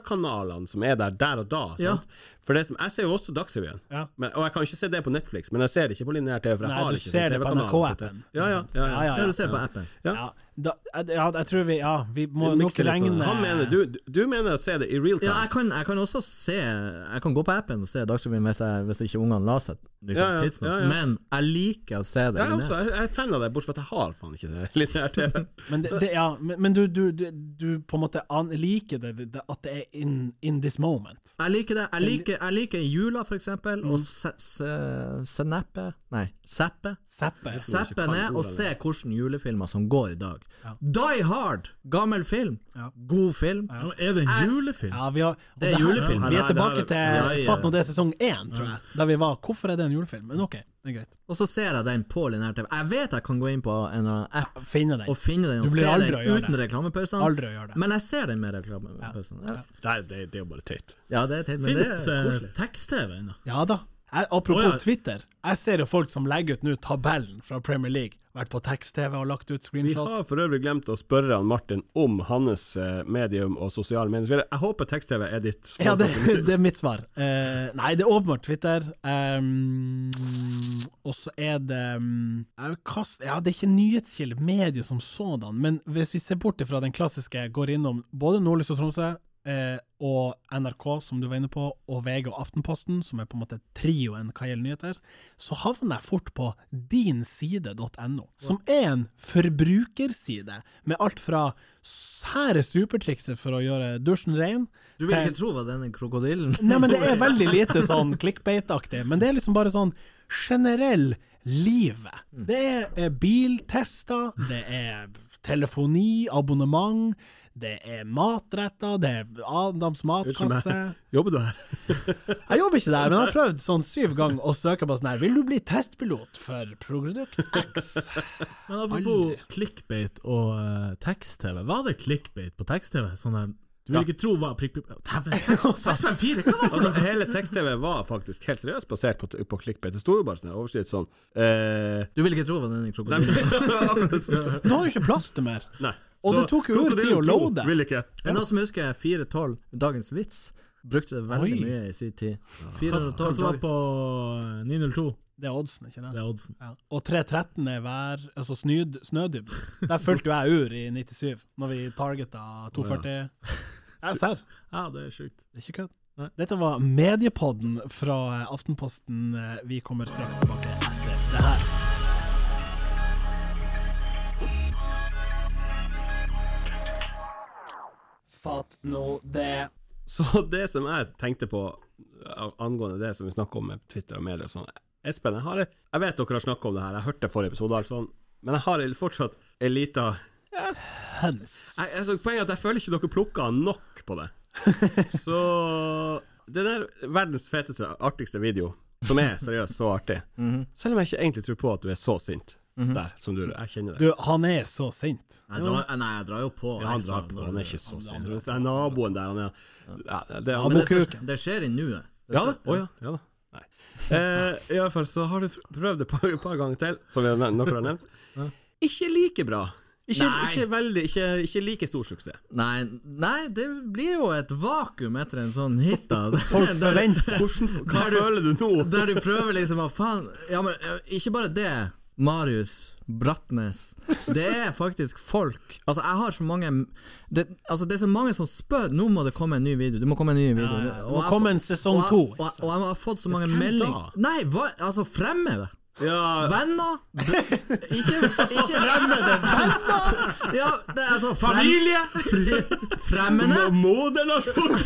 S4: TV-kanalene som er der der og da? Sant?
S3: Ja.
S4: For det som, Jeg ser jo også Dagsrevyen,
S2: Ja.
S4: men, og jeg kan ikke se det på Netflix. Men jeg ser det ikke på lineær TV, for jeg
S2: Nei,
S4: har
S2: du
S4: ikke
S2: ser
S4: sånn
S2: det på
S4: TV-kanaler
S2: NRK-appen.
S4: Ja, ja, ja, ja.
S2: Ja,
S3: Det
S2: ja.
S3: du ser på appen.
S2: ja. Da, ja, jeg tror vi Ja, vi må
S4: Vi
S2: nok
S4: mikser litt sånn.
S2: regne
S4: Han mener, du, du mener å se det i real time.
S3: Ja, jeg kan, jeg kan også se Jeg kan gå på appen og se Dagsrevyen hvis, jeg- hvis ikke ungene la seg liksom,
S4: Ja, ja,
S3: tidsnok,
S4: ja, ja.
S3: men jeg liker å se det.
S4: Jeg er,
S3: inne.
S4: også, altså, jeg jeg er fan av det, bortsett fra at jeg har faen ikke det lineær TV.
S2: Men, det, det, ja, men, men du, du, du, du på en måte an, liker det, det at det er in, in this moment.
S3: Jeg liker det. Jeg liker, jeg liker i jula, for eksempel,
S2: Mm.
S3: å se- se- senappe Nei, zappe.
S2: Zapper.
S3: Zappe ned og se hvordan julefilmer som går i dag. Die Hard! Gammel film. God film.
S5: Ja, men Er det en julefilm?
S2: Ja, vi har, og
S3: Det er
S2: her-
S3: julefilm.
S2: Vi
S4: Ja,
S2: er
S4: det her-
S2: tilbake til
S3: Ja, ja.
S2: Fatt nå det er sesong én, tror jeg. Der vi var Hvorfor er det en julefilm? Men OK, det er greit.
S3: Og så ser jeg den på linær TV. Jeg vet jeg kan gå inn på en eller annen app
S2: Finne
S3: og
S2: den.
S3: finne den
S2: Du
S3: og
S2: blir
S3: se
S2: aldri
S3: den
S2: å gjøre
S3: uten
S2: det.
S3: reklamepausene.
S2: Aldri å gjøre det.
S3: Men jeg ser den med reklamepausene. Ja.
S4: Nei, det, det er jo bare teit.
S3: ja, det er teit, men det
S5: Fins
S2: eh,
S3: er koselig.
S5: eh, tekst-TV ennå?
S2: Ja da. Jeg, apropos
S5: Å, ja.
S2: Twitter. Jeg ser jo folk som legger ut nå tabellen fra Premier League. Vært på tekst-TV og lagt ut
S4: Vi
S2: screenshot.
S4: har for øvrig glemt å spørre han Martin om hans eh, medium og sosiale medier. Jeg håper tekst-TV er ditt svar.
S2: Ja, det, det er mitt svar. Eh, nei, det er åpenbart Twitter. Um, og så er det um, jeg vil kaste- Ja, det er ikke nyhetskilde, medier som sådan, men hvis vi ser bort fra den klassiske, går innom både Nordlys og Tromsø, eh, og NRK, som du var inne på, og VG og Aftenposten, som er på en måte trioen hva gjelder nyheter, så havner jeg fort på dinside.no, som er en forbrukerside med alt fra sære supertrikset for å gjøre dusjen ren
S3: Du vil ikke tro hva denne krokodillen
S2: Nei, men det er veldig lite sånn clickbait-aktig. Men det er liksom bare sånn generell livet. Det er eh, biltester, det er telefoni, abonnement, det er matretter, det er Adams matkasse.
S4: Jobber du her?
S2: Jeg jobber ikke der, men jeg har prøvd sånn syv ganger å søke på sånn her Vil du bli testpilot for produkt X?
S5: Men apropos
S2: Aldri.
S5: clickbait og eh, tekst-TV. Var det clickbait på tekst-TV? Sånn der Du vil ikke tro hva prikk, prikk, Dæven, seks- 654! Hva er det for
S4: Altså,
S5: noe?
S4: hele tekst-TV var faktisk helt seriøst basert på, på clickbait. Det sto jo bare sånn her, oversikt sånn eh, *laughs*
S3: Du vil ikke tro hva denne
S4: Nei,
S3: krokodillen
S4: men-
S2: Du har jo ikke plass til mer.
S4: Nei.
S2: Og
S4: Så
S2: det tok jo ur tid å
S4: Krokodillen to
S2: loade.
S4: Vil ikke.
S3: Er det noen som husker 412, dagens vits? Brukte det veldig
S2: Oi.
S3: mye i sin tid.
S5: Hva
S3: 412
S5: hva som var
S3: dag-
S5: på eh, 902?
S2: Det er oddsen, ikke
S5: Det
S2: det?
S5: er oddsen.
S2: Ja. Og 3.13 er vær, altså snyd, snødybde. Der fulgte jo jeg ur i 97, når vi targeta 240. Jeg ser.
S5: Ja, det er sjukt.
S2: Det er ikke kødd.
S5: Nei.
S2: Dette var Mediepodden fra Aftenposten. Vi kommer straks tilbake etter det her. Fatt nå det.
S4: Så det som jeg tenkte på eh, angående det som vi snakker om med Twitter og medier og sånn Espen, jeg, har, jeg sånn, vet dere har snakka om det her, jeg hørte forrige episode, altså, men jeg har fortsatt ei lita
S2: høns.
S4: Jeg, altså, poenget er at jeg føler ikke dere plukka nok på det. Så Det der verdens feteste, artigste video, som er seriøst så artig, selv om jeg ikke egentlig tror på at du er så sint der som du Jeg kjenner det.
S2: Du, han er så sint.
S3: Jeg drar, nei, jeg drar jo på.
S4: Ja, han
S3: ekstra
S4: drar på,
S3: når
S4: han er
S3: det-
S4: ikke så sint. Det er naboen der, han er ja, det er
S3: Men det,
S4: Aboku.
S3: skjer- det skjer i nuet. Det
S4: Ja da.
S3: skjer-
S4: Å ja. ja da. Nei. Eh, I alle fall så har du prøvd det et par, par ganger til, som vi har nevnt, dere har nevnt. Ikke like bra. Ikke,
S3: Nei.
S4: ikke, veldig, ikke, ikke like stor suksess.
S3: *laughs* Nei, nei, det blir jo et vakuum etter en sånn
S4: *laughs*
S3: hit, da.
S2: Folk forventer
S4: Hvordan, hva føler du nå?
S3: Der du prøver liksom å faen Ja, men eh, ikke bare det, Marius Bratnes. Det er faktisk folk Altså, jeg har så mange det, Altså, det er så mange som spør Nå må det komme en ny video. Det må komme en ny video.
S2: ja, det må
S3: Og jeg har
S2: komme
S3: fått-
S2: en sesong
S3: og jeg-
S2: to,
S3: Og, jeg- og jeg har fått så mange
S4: hvem
S3: meldinger
S4: da?
S3: Nei, hva, altså fremmede.
S4: Ja,
S2: *laughs*
S3: Venner br- Ikke,
S2: Altså,
S3: ikke fremmede. Venner! Ja, det er altså frem-
S4: Familie!
S3: Fremmede.
S4: Modernasjon!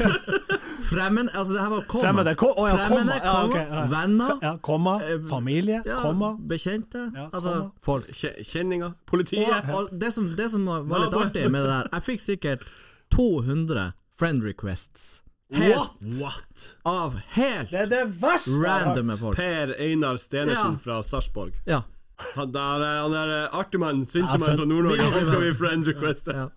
S3: Fremmen, altså det her var komma.
S2: fremmede. Eh, Ko å, ja, komma.
S3: Fremmede,
S2: Ja, ok, ja.
S3: komma, venner,
S2: Ja, komma, familie,
S3: ja,
S2: komma.
S3: bekjente.
S2: Ja,
S3: altså
S2: komma.
S3: folk.
S4: Kjenninger. Politiet.
S3: Og, og det, som, det som var var litt
S5: Naboer.
S3: artig med det der, jeg fikk sikkert 200 friend requests. Helt,
S5: What?
S3: Av helt
S2: Det er det verste! jeg har hørt.
S3: randomme folk.
S4: Per Einar Stenersen
S3: Ja.
S4: fra Sarpsborg.
S3: Ja,
S4: Han der er- han er eh, artigmann,
S2: Ja,
S4: syntemann
S2: for-
S4: fra Nord-Norge.
S3: Ja,
S4: Han skal
S3: ja.
S4: vi friend requeste.
S3: ja.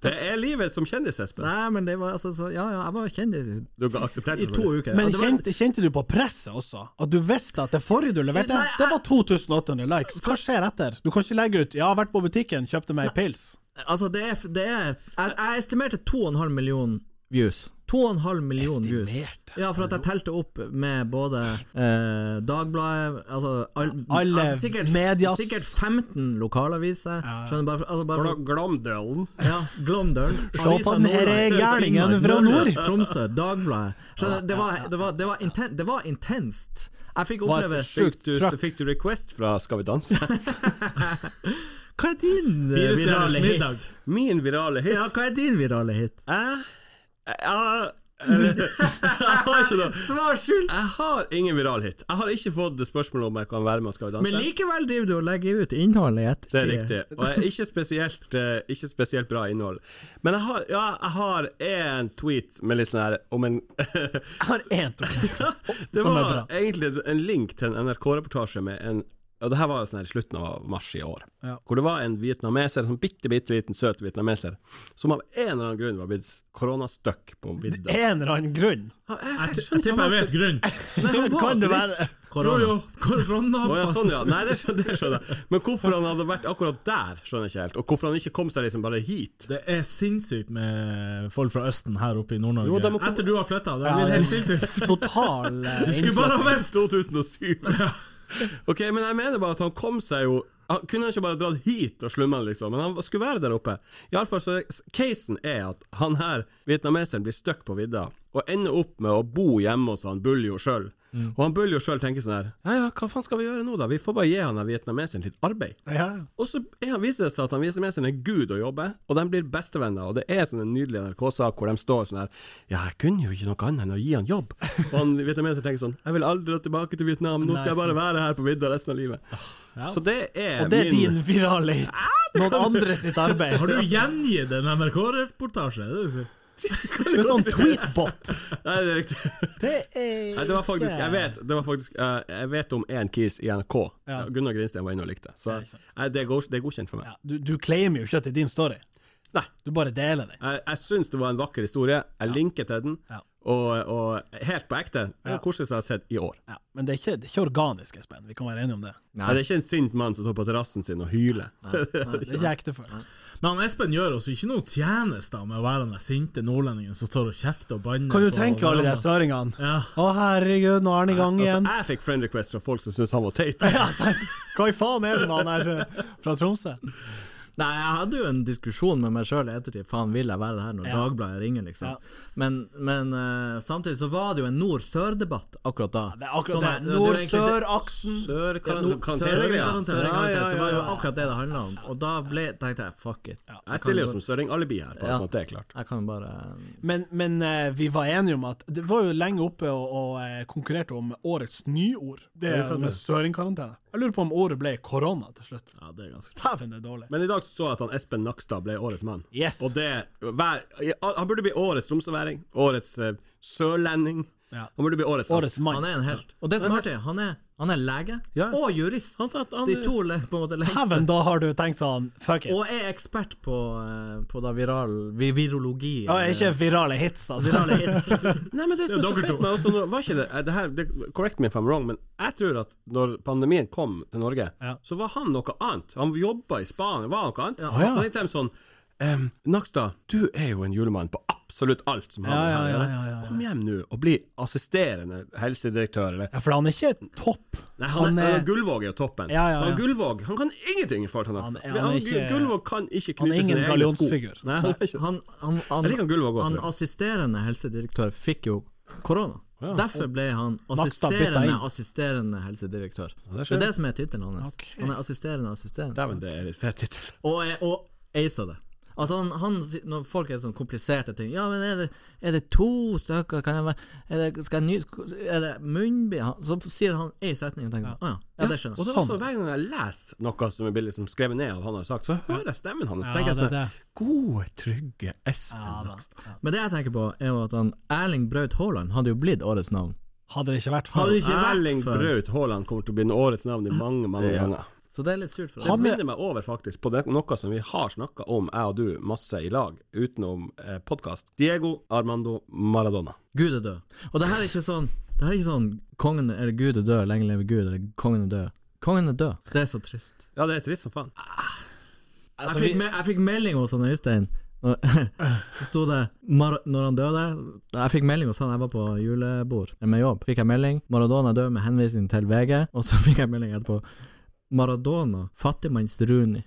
S4: Det er livet som kjendis, Espen.
S3: Nei, men det var altså så, Ja, ja, jeg var kjendis i,
S4: Du har akseptert
S3: i to
S4: selvfølgelig.
S3: uker.
S2: Men
S3: Og det var-
S2: kjente, kjente du på presset også? At du visste at det forrige du leverte,
S3: Nei, jeg-
S2: det var 2800 likes. Hva skjer etter? Du kan ikke legge ut 'Jeg har vært på butikken, kjøpte meg ei pils'.
S3: Altså, det er, det er Jeg, jeg estimerte 2,5 million views. 2,5 million views.
S2: Estimerte?
S3: Ja, for at jeg telte opp med både eh, Dagbladet altså, all,
S2: Alle
S3: altså, sikkert,
S2: medias-
S3: Sikkert 15 lokalaviser. Skjønner bare, altså, bare
S4: Har du Glomdalen?
S3: ja, Glåmdølen.
S2: Se på den her gærningen fra nord.
S3: Tromsø, Dagbladet. Skjønner, det, var, det, var, det, var inten, det var intenst. Jeg fikk
S2: Var et
S3: oppleve
S4: Fikk
S2: sjukt
S4: du,
S2: trøkk.
S4: fikk du request fra Skal vi danse?
S3: Hva er din eh,
S5: Fire stjerners
S3: virale
S5: middag.
S3: hit?
S4: Min virale hit?
S3: Ja, hva er din virale hit?
S4: Jeg, jeg, jeg, eller- jeg har ikke noe
S3: Svar skyldig!
S4: Jeg har ingen viral hit. Jeg har ikke fått spørsmål om jeg kan være med og Skal vi danse.
S2: altså-
S3: Men likevel driver du og legger ut innholdet i ettertid.
S4: Det er riktig. Og jeg er ikke spesielt, eh, ikke spesielt bra innhold. Men jeg har, ja, jeg har en tweet med litt sånn her om en *laughs*
S2: Jeg har én tok.
S4: Det
S2: Som er bra.
S4: var egentlig en link til en NRK-reportasje med en og det her var jo sånn her i slutten av mars i år,
S2: Ja.
S4: hvor det var en vietnameser, en sånn bitte, bitte liten søt vietnameser, som av en eller annen grunn var blitt koronastuck
S2: *laughs*
S4: på vidda.
S2: En eller annen grunn.
S5: Jeg tipper jeg vet grunnen.
S2: *laughs* Kan det være
S5: Jo,
S3: Korona.
S5: jo, korona
S4: Å ja, sånn ja. Nei, det skjønner, *laughs* det skjønner jeg. Men hvorfor han hadde vært akkurat der, skjønner jeg ikke helt. Og hvorfor han ikke kom seg liksom bare *laughs* hit.
S5: Det er sinnssykt med folk fra Østen her oppe i
S4: Jo, de
S5: Nord-Norge.
S4: må komme-
S5: Etter du har flytta. Det
S2: Ja,
S5: er blitt helt
S2: det-
S5: sinnssykt.
S2: total eh,
S5: Du skulle bare ha visst!
S4: 2007. Ok, men jeg mener bare at han kom seg jo han Kunne han ikke bare dratt hit og slumma, liksom? Men han skulle være der oppe. Iallfall så Casen er at han her, vietnameseren, blir stuck på vidda, og ender opp med å bo hjemme hos han Buljo sjøl. Og han Buljo sjøl tenker sånn her Ja ja, hva faen skal vi gjøre nå, da? Vi får bare gi han her vietnameseren litt arbeid.
S2: ja.
S4: Og så er han, viser det seg at han viser med seg en gud å jobbe, og de blir bestevenner. Og det er sånn en nydelig NRK-sak hvor de står sånn her Ja, jeg kunne jo ikke noe annet enn å gi han jobb. Og han vietnameser tenker sånn Jeg vil aldri dra tilbake til Vietnam, nå skal jeg bare være her på vidda resten av livet. Så det er,
S2: Og det er
S4: min
S2: din virale hit. Noen andre sitt arbeid.
S5: Har du gjengitt en NRK-reportasje? Det er det du sier.
S2: Det er sånn tweetbot.
S4: Nei, det er riktig.
S2: Det er
S4: Nei, det var faktisk Jeg vet, det var faktisk, eh, jeg vet om én kis i NRK.
S2: Ja.
S4: Gunnar Grinstein var inne og likte. Så
S2: ikke sant.
S4: nei, det, er god, det er godkjent for meg.
S2: ja, du, du claimer jo ikke at det er din story.
S4: Nei.
S2: Du bare deler den.
S4: Jeg, jeg syns det var en vakker historie. Jeg linker til den.
S2: Ja.
S4: Og, og helt på ekte, det
S2: Ja.
S4: er det koseligste jeg har sett i år.
S2: Ja, men det er, ikke, det er ikke organisk, Espen. Vi kan være enige om det.
S4: Nei. Det er ikke en sint mann som står på terrassen sin og hyler.
S2: Det er ikke ektefølt.
S5: Men han Espen gjør oss jo ikke noe tjeneste med å være den der sinte nordlendingen som står og kjefter og banner.
S2: Kan du
S5: på
S2: tenke alle de
S5: hverandre.
S2: der søringene?
S5: Ja.
S2: Å, herregud, nå er han i gang igjen.
S4: Altså, jeg fikk friend request fra folk som syntes han var teit.
S2: Hva i faen er det med han her eh, fra Tromsø?
S3: Nei, jeg hadde jo en diskusjon med meg sjøl i ettertid. Faen, vil jeg være her når
S2: Ja.
S3: Dagbladet ringer, liksom?
S2: Ja.
S3: Men, men eh, samtidig så var det jo en nord-sør-debatt akkurat da.
S2: Det Sånn er akkurat
S3: Som
S2: det.
S3: jeg- det var egentlig det-
S2: Nord-sør-aksen.
S4: Sør,
S3: Ja,
S4: kan,
S3: nord-
S4: kan,
S3: Sør- ja,
S4: søring,
S3: sør-
S4: ja, ja,
S3: Så var det
S4: ja,
S3: jo akkurat det det handla om. Og da ble, tenkte jeg fuck it.
S4: Jeg stiller jo som søring-alibi her, bare
S3: Ja.
S4: sånn at det er klart.
S3: Jeg kan bare
S2: Men, men eh, vi var enige om at Det var jo lenge oppe og, og eh, konkurrerte om årets nyord. Det er med søringkarantene. Jeg lurer på om året ble korona til slutt.
S5: Ja, det er ganske
S2: Dæven, det er dårlig.
S4: Men i dag først så at han Espen Nakstad ble årets mann.
S2: Yes.
S4: Og det hver, Han burde bli årets tromsøværing. Årets eh, sørlending.
S2: Ja.
S4: altså, Han burde bli årets
S2: Årets
S3: Han
S2: mann.
S3: er en helt. Og det som er artig, han er, han er lege
S4: Ja.
S3: og jurist.
S4: Han sa at han-
S3: De to le- på en måte lengste.
S2: Heaven, da har du tenkt sånn Fuck it.
S3: Og er ekspert på, eh, på da viral, vi- virologi.
S2: Ja, ikke virale hits, altså. Virale hits.
S4: *laughs* Nei, men det som er så
S5: dere
S4: fett
S5: to.
S4: med også, når- var ikke det, eh, det, her, det Correct me if I'm wrong, men jeg tror at når pandemien kom til Norge,
S2: Ja.
S4: så var han noe annet. Han jobba i Spania, var noe annet.
S2: Å, ja.
S4: Så tenkte de sånn ehm, Nakstad, du er jo en julemann på absolutt alt som har
S2: Ja,
S4: med
S2: ja,
S4: her å
S2: ja,
S4: gjøre.
S2: ja, ja, ja.
S4: Kom hjem nå og bli assisterende helsedirektør, eller
S2: Ja, for han er ikke topp.
S4: Nei, han,
S2: Han
S4: er,
S2: er-
S4: han Gullvåg er jo toppen.
S2: Ja, ja, ja.
S4: Han Gullvåg han kan ingenting i forhold til Nakstad.
S2: Han-
S4: Men
S2: han er
S4: han
S2: ikke-
S4: Gullvåg kan ikke
S2: han er
S4: knytte
S2: ingen
S4: sine egne sko.
S2: gallionsfigur.
S4: Nei, han er ikke-
S3: Han, han, han,
S4: Jeg liker Gullvåg også,
S3: han
S4: tror jeg.
S3: assisterende helsedirektør fikk jo korona. Derfor ble han
S2: Nakstad bytta
S3: assisterende
S2: inn.
S3: assisterende helsedirektør.
S4: det
S3: det,
S4: skjer.
S3: er det som er tittelen hans.
S2: Ok.
S3: Han er assisterende assisterende.
S4: Dæven, det er en fet tittel.
S3: Og, er- og aisa det. Altså han, han, Når folk er sånn kompliserte ting Ja, men er det, er det to stykker? Kan jeg være er det, Skal jeg ny... Er det munnbind? Han- Så sier han ei setning og tenker Å ja. ja, det
S4: Og
S3: skjønner jeg.
S4: det var
S2: Sånn.
S4: sånn, Hver gang jeg leser noe som er billig som skrevet ned, at han har sagt, så hører jeg stemmen hans.
S2: Ja,
S4: tenker jeg
S2: det er
S4: sånn,
S2: det.
S4: Gode, trygge Espen
S2: Ja, da.
S4: Nakstad.
S3: Men det jeg tenker på, er jo at han Erling Braut Haaland hadde jo blitt årets navn.
S2: Hadde det ikke vært for
S3: Hadde det ikke
S4: Erling
S3: vært for
S4: Braut Haaland kommer til å bli årets navn i mange mange ganger.
S3: Så det er litt surt for
S4: Det
S2: Han
S3: ham.
S2: er-
S4: minner meg over faktisk på det, noe som vi har snakka om, jeg og du, masse i lag, utenom eh, podkast. Diego Armando Maradona.
S3: Gud er død. Og det her er ikke sånn Det her er ikke sånn Kongen eller Gud er død, lenge leve Gud, eller kongen er død. Kongen er død. Det er så trist.
S4: Ja, det er trist som faen.
S2: Altså,
S3: Jeg fikk, me jeg fikk melding hos han Øystein. Og *laughs* Så sto det Mar Når han døde Jeg fikk melding hos han jeg var på julebord med jobb. Fikk jeg melding Maradona er død med henvisning til VG, og så *laughs* fikk jeg melding etterpå. Maradona, fattigmanns Runi.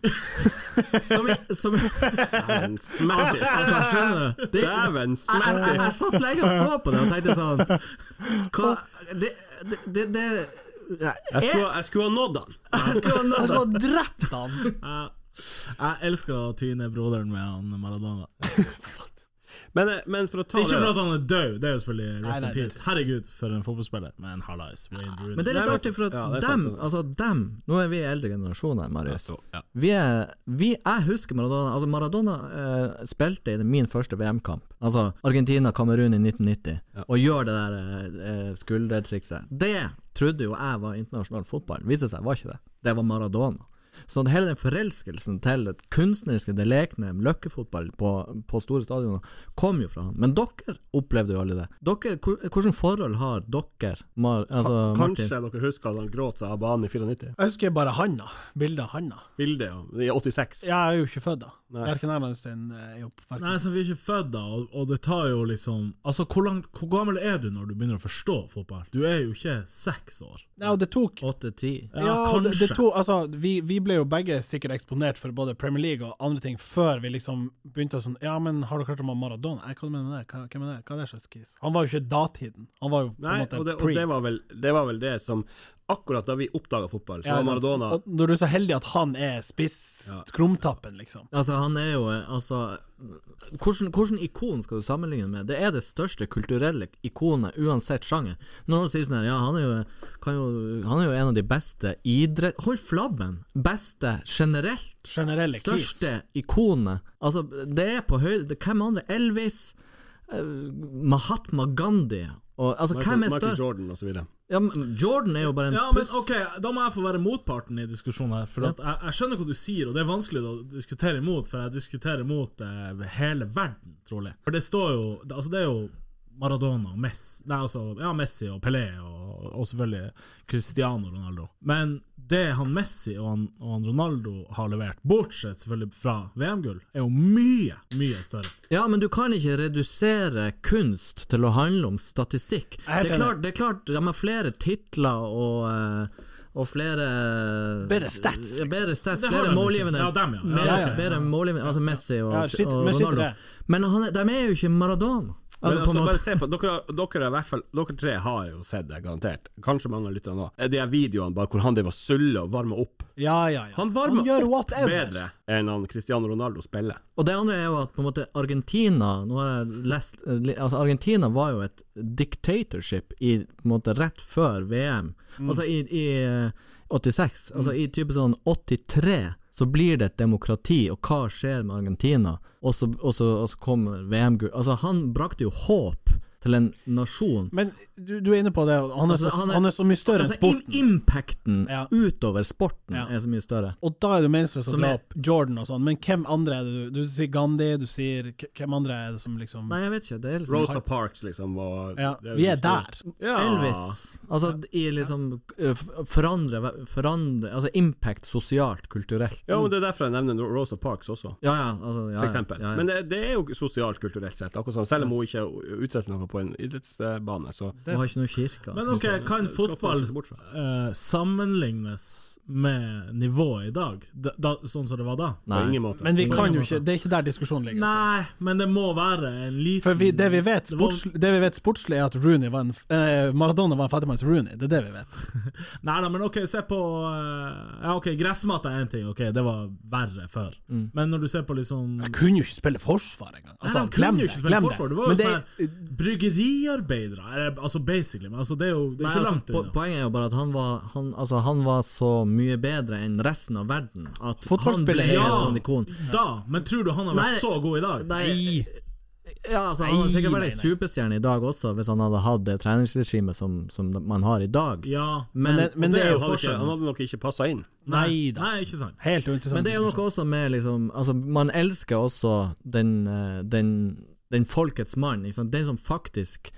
S3: Som, i- som i-
S4: Dæven smerte.
S3: Altså, skjønner du? Det,
S4: Dæven
S3: jeg, jeg, jeg,
S4: smerte.
S3: jeg satt lenge og så på det og tenkte sånn Hva Det, det, det, det
S4: Jeg
S3: jeg,
S4: skulle, jeg skulle ha nådd han.
S3: jeg skulle ha
S2: Du
S3: nådd
S2: har drept han!
S5: Jeg, jeg elsker å tyne broderen med han Maradona.
S4: Men, eh, men for å ta
S5: Ikke for
S4: det
S5: at han er død, det er jo selvfølgelig
S2: Nei,
S5: rest
S2: nei,
S5: in peace. Herregud, for en fotballspiller. Men hallais, Wayne
S3: Men det er
S5: Rooney.
S3: litt
S4: Nei, men-
S3: artig, for at
S4: ja, det er sant,
S3: dem,
S4: det er
S3: altså dem Nå er vi eldre generasjoner, Marius.
S4: Så, ja.
S3: Vi er, vi, jeg husker Maradona. Altså Maradona eh, spilte i min første VM-kamp. Altså Argentina-Kamerun i 1990, og gjør det der eh, skuldertrikset. Det trodde jo jeg var internasjonal fotball. Viste seg var ikke det. Det var Maradona. Så det hele den forelskelsen til det kunstneriske, det lekne, løkkefotball på, på store stadioner, kom jo fra han. Men dere opplevde jo aldri det. Dere, hvor- hvordan forhold har dere, Mar, altså Martin?
S4: Kanskje dere husker at han gråt seg av banen i 94?
S2: Jeg husker bare handa. Bildet av handa.
S4: Bildet, ja. I 86.
S2: Jeg er jo ikke født da.
S4: Nei.
S2: Verken jeg eller Øystein eh, er jo på
S5: Nei, så vi er ikke født da, og, og det tar jo liksom Altså, hvor, langt, hvor gammel er du når du begynner å forstå fotball? Du er jo ikke seks år.
S2: Nei, og det tok
S3: Åtte-ti?
S5: Ja,
S2: Ja, det,
S5: kanskje.
S2: det to, altså, vi, vi ble jo begge sikkert eksponert for både Premier League og andre ting før vi liksom begynte å sånn Ja, men har du hørt om han Maradona? Nei, hva mener du med det? Hva, hvem er det? Hva er det slags kis? Han var jo ikke datiden. Han var jo på
S4: Nei,
S2: en måte
S4: og, det, og
S2: pre.
S4: det, var vel, det var vel det som Akkurat da vi oppdaga fotball, så
S2: Ja,
S4: var
S2: sant.
S4: Maradona
S2: Og når du er så heldig at han er spiss,
S4: Ja.
S2: krumtappen, liksom.
S3: Altså, han er jo eh, Altså, hvordan, hvordan ikon skal du sammenligne med? Det er det største kulturelle ikonet, uansett sjanger. Når noen sier sånn her, ja, han er jo, kan jo Han er jo en av de beste idrett... Hold flabben! Beste generelt.
S2: Generelle kis.
S3: Største ikonet. Altså, det er på høyde det- Hvem andre? Elvis? eh, Mahatma Gandhi? Og, altså,
S4: Michael,
S3: hvem er
S4: Michael
S3: større?
S4: Jordan og så videre.
S3: Ja, men Jordan er jo bare en
S5: Ja, men
S3: puss.
S5: ok, Da må jeg få være motparten i diskusjonen her. For at jeg, jeg skjønner hva du sier, og det er vanskelig å diskutere imot, for jeg diskuterer imot eh, hele verden, trolig. For det står jo det- Altså, det er jo Maradona og Messi, nei, altså, ja, Messi og Pelé og, og selvfølgelig Cristiano Ronaldo. Men det han Messi og han, og han Ronaldo har levert, bortsett selvfølgelig fra VM-gull, er jo mye, mye større.
S3: Ja, men du kan ikke redusere kunst til å handle om statistikk.
S2: er helt
S3: Det er
S2: enig.
S3: klart, det er klart de har flere titler og, eh, og flere eh,
S2: Bedre stats, liksom.
S3: Bedre stats,
S5: Det har
S3: bedre
S5: de, liksom.
S3: målgivende.
S5: Ja, dem, ja. Ja,
S2: ja,
S3: Mer-
S2: ja, ja.
S3: Bedre målgivende, altså Messi og,
S2: Ja, shit,
S3: og
S2: men shit i
S3: Ronaldo.
S2: det.
S3: Men han, er- de er jo ikke Maradona. Altså,
S4: Men
S3: på en
S4: altså,
S3: måte.
S4: bare se på, dere, har- dere, har i hvert fall, dere tre har jo sett det, garantert. Kanskje mange av lytterne òg. De her videoene bare hvor han driver og suller og varmer opp.
S2: Ja, ja, ja.
S4: Han varmer
S2: gjør
S4: opp
S2: whatever.
S4: bedre enn han Cristiano Ronaldo spiller.
S3: Og det andre er jo at på en måte Argentina Nå har jeg lest eh, li- Altså Argentina var jo et dictatorship i, på en måte, rett
S2: Mm.
S3: før VM. Altså i, i eh, 86. Altså i type sånn 83 så blir det et demokrati, og hva skjer med Argentina? Og så, og så, og så kommer VM-gull Altså, han brakte jo håp til en nasjon.
S2: Men du, du er inne på det, og han er,
S3: Altså,
S2: så,
S3: han
S2: han
S3: er-
S2: er, så mye større enn
S3: Altså,
S2: sporten.
S3: im- impacten
S2: Ja.
S3: utover sporten
S2: Ja.
S3: er så mye større.
S2: Og da er det jo meningsløst å
S3: Som
S2: dra
S3: er-
S2: opp Jordan og sånn, men hvem andre er det du Du sier Gandhi, du sier k- Hvem andre er det som liksom
S3: Nei, jeg vet ikke. Det er liksom
S4: Rosa Parks, liksom. Og,
S2: Ja,
S4: det jo
S2: vi er
S4: så stort.
S2: der.
S4: Ja.
S3: Elvis. Altså, i liksom eh, f- Forandre, forandre Altså impact sosialt, kulturelt.
S4: Ja, men Det er derfor jeg nevner Rosa Parks også,
S3: Ja, ja, altså, ja, ja,
S4: for eksempel.
S3: Ja, ja.
S4: Men det, det er jo sosialt, kulturelt sett, akkurat sånn. Selv om hun ikke utretter noe på en idrettsbane, så
S3: Hun har ikke noen kirke.
S5: Men ok,
S4: skal
S5: kan fotball
S4: passe seg bort fra.
S5: eh, sammenlignes med nivået i dag? Da, da, sånn som det var da?
S4: på
S3: Nei.
S4: ingen måte.
S2: Men vi
S5: Ingen
S2: kan jo
S5: måte.
S2: ikke Det er ikke der diskusjonen ligger.
S5: Nei, men det må være en liten
S2: For vi, det, vi vet,
S5: var-
S2: sports, det vi vet sportslig, er at Rooney var en, f- eh, Maradona var en fattigmanns Rooney. Det er det vi vet.
S5: Nei da, men ok, se på eh, Ja, ok, gressmatta er én ting, ok, det var verre før. Men når du ser på liksom
S2: Jeg kunne jo ikke spille forsvar engang. Altså,
S5: Nei, de
S2: glem
S5: kunne jo
S2: det,
S5: ikke spille
S2: glem
S5: forsvar. Det var jo
S2: Men det
S5: sånn her bryggeriarbeidere, eller, altså basically. Men altså, det er jo det er
S3: Nei,
S5: ikke
S3: altså,
S5: langt
S3: po-
S5: unna.
S3: poenget er jo bare at han var, han, altså, han var så mye bedre enn resten av verden at han
S2: Fotballspiller,
S3: ble
S5: ja.
S3: en sånn ikon.
S5: Da, men tror du han har vært
S3: Nei.
S5: så god i dag?
S3: Nei,
S2: Nei.
S3: ja, altså, han hadde sikkert vært en
S2: Nei, nei.
S3: superstjerne i dag også, hvis han hadde hatt det treningsregimet som, som man har i dag.
S5: Ja.
S3: Men,
S2: det- men det er jo
S4: han, hadde ikke,
S5: forskjellen.
S4: han hadde nok ikke passa inn.
S2: Nei da.
S5: Nei, ikke sant.
S2: Helt uinteressant.
S3: Men det er jo noe også med liksom Altså, man elsker også den, eh, den, den folkets mann, ikke sant? Den som faktisk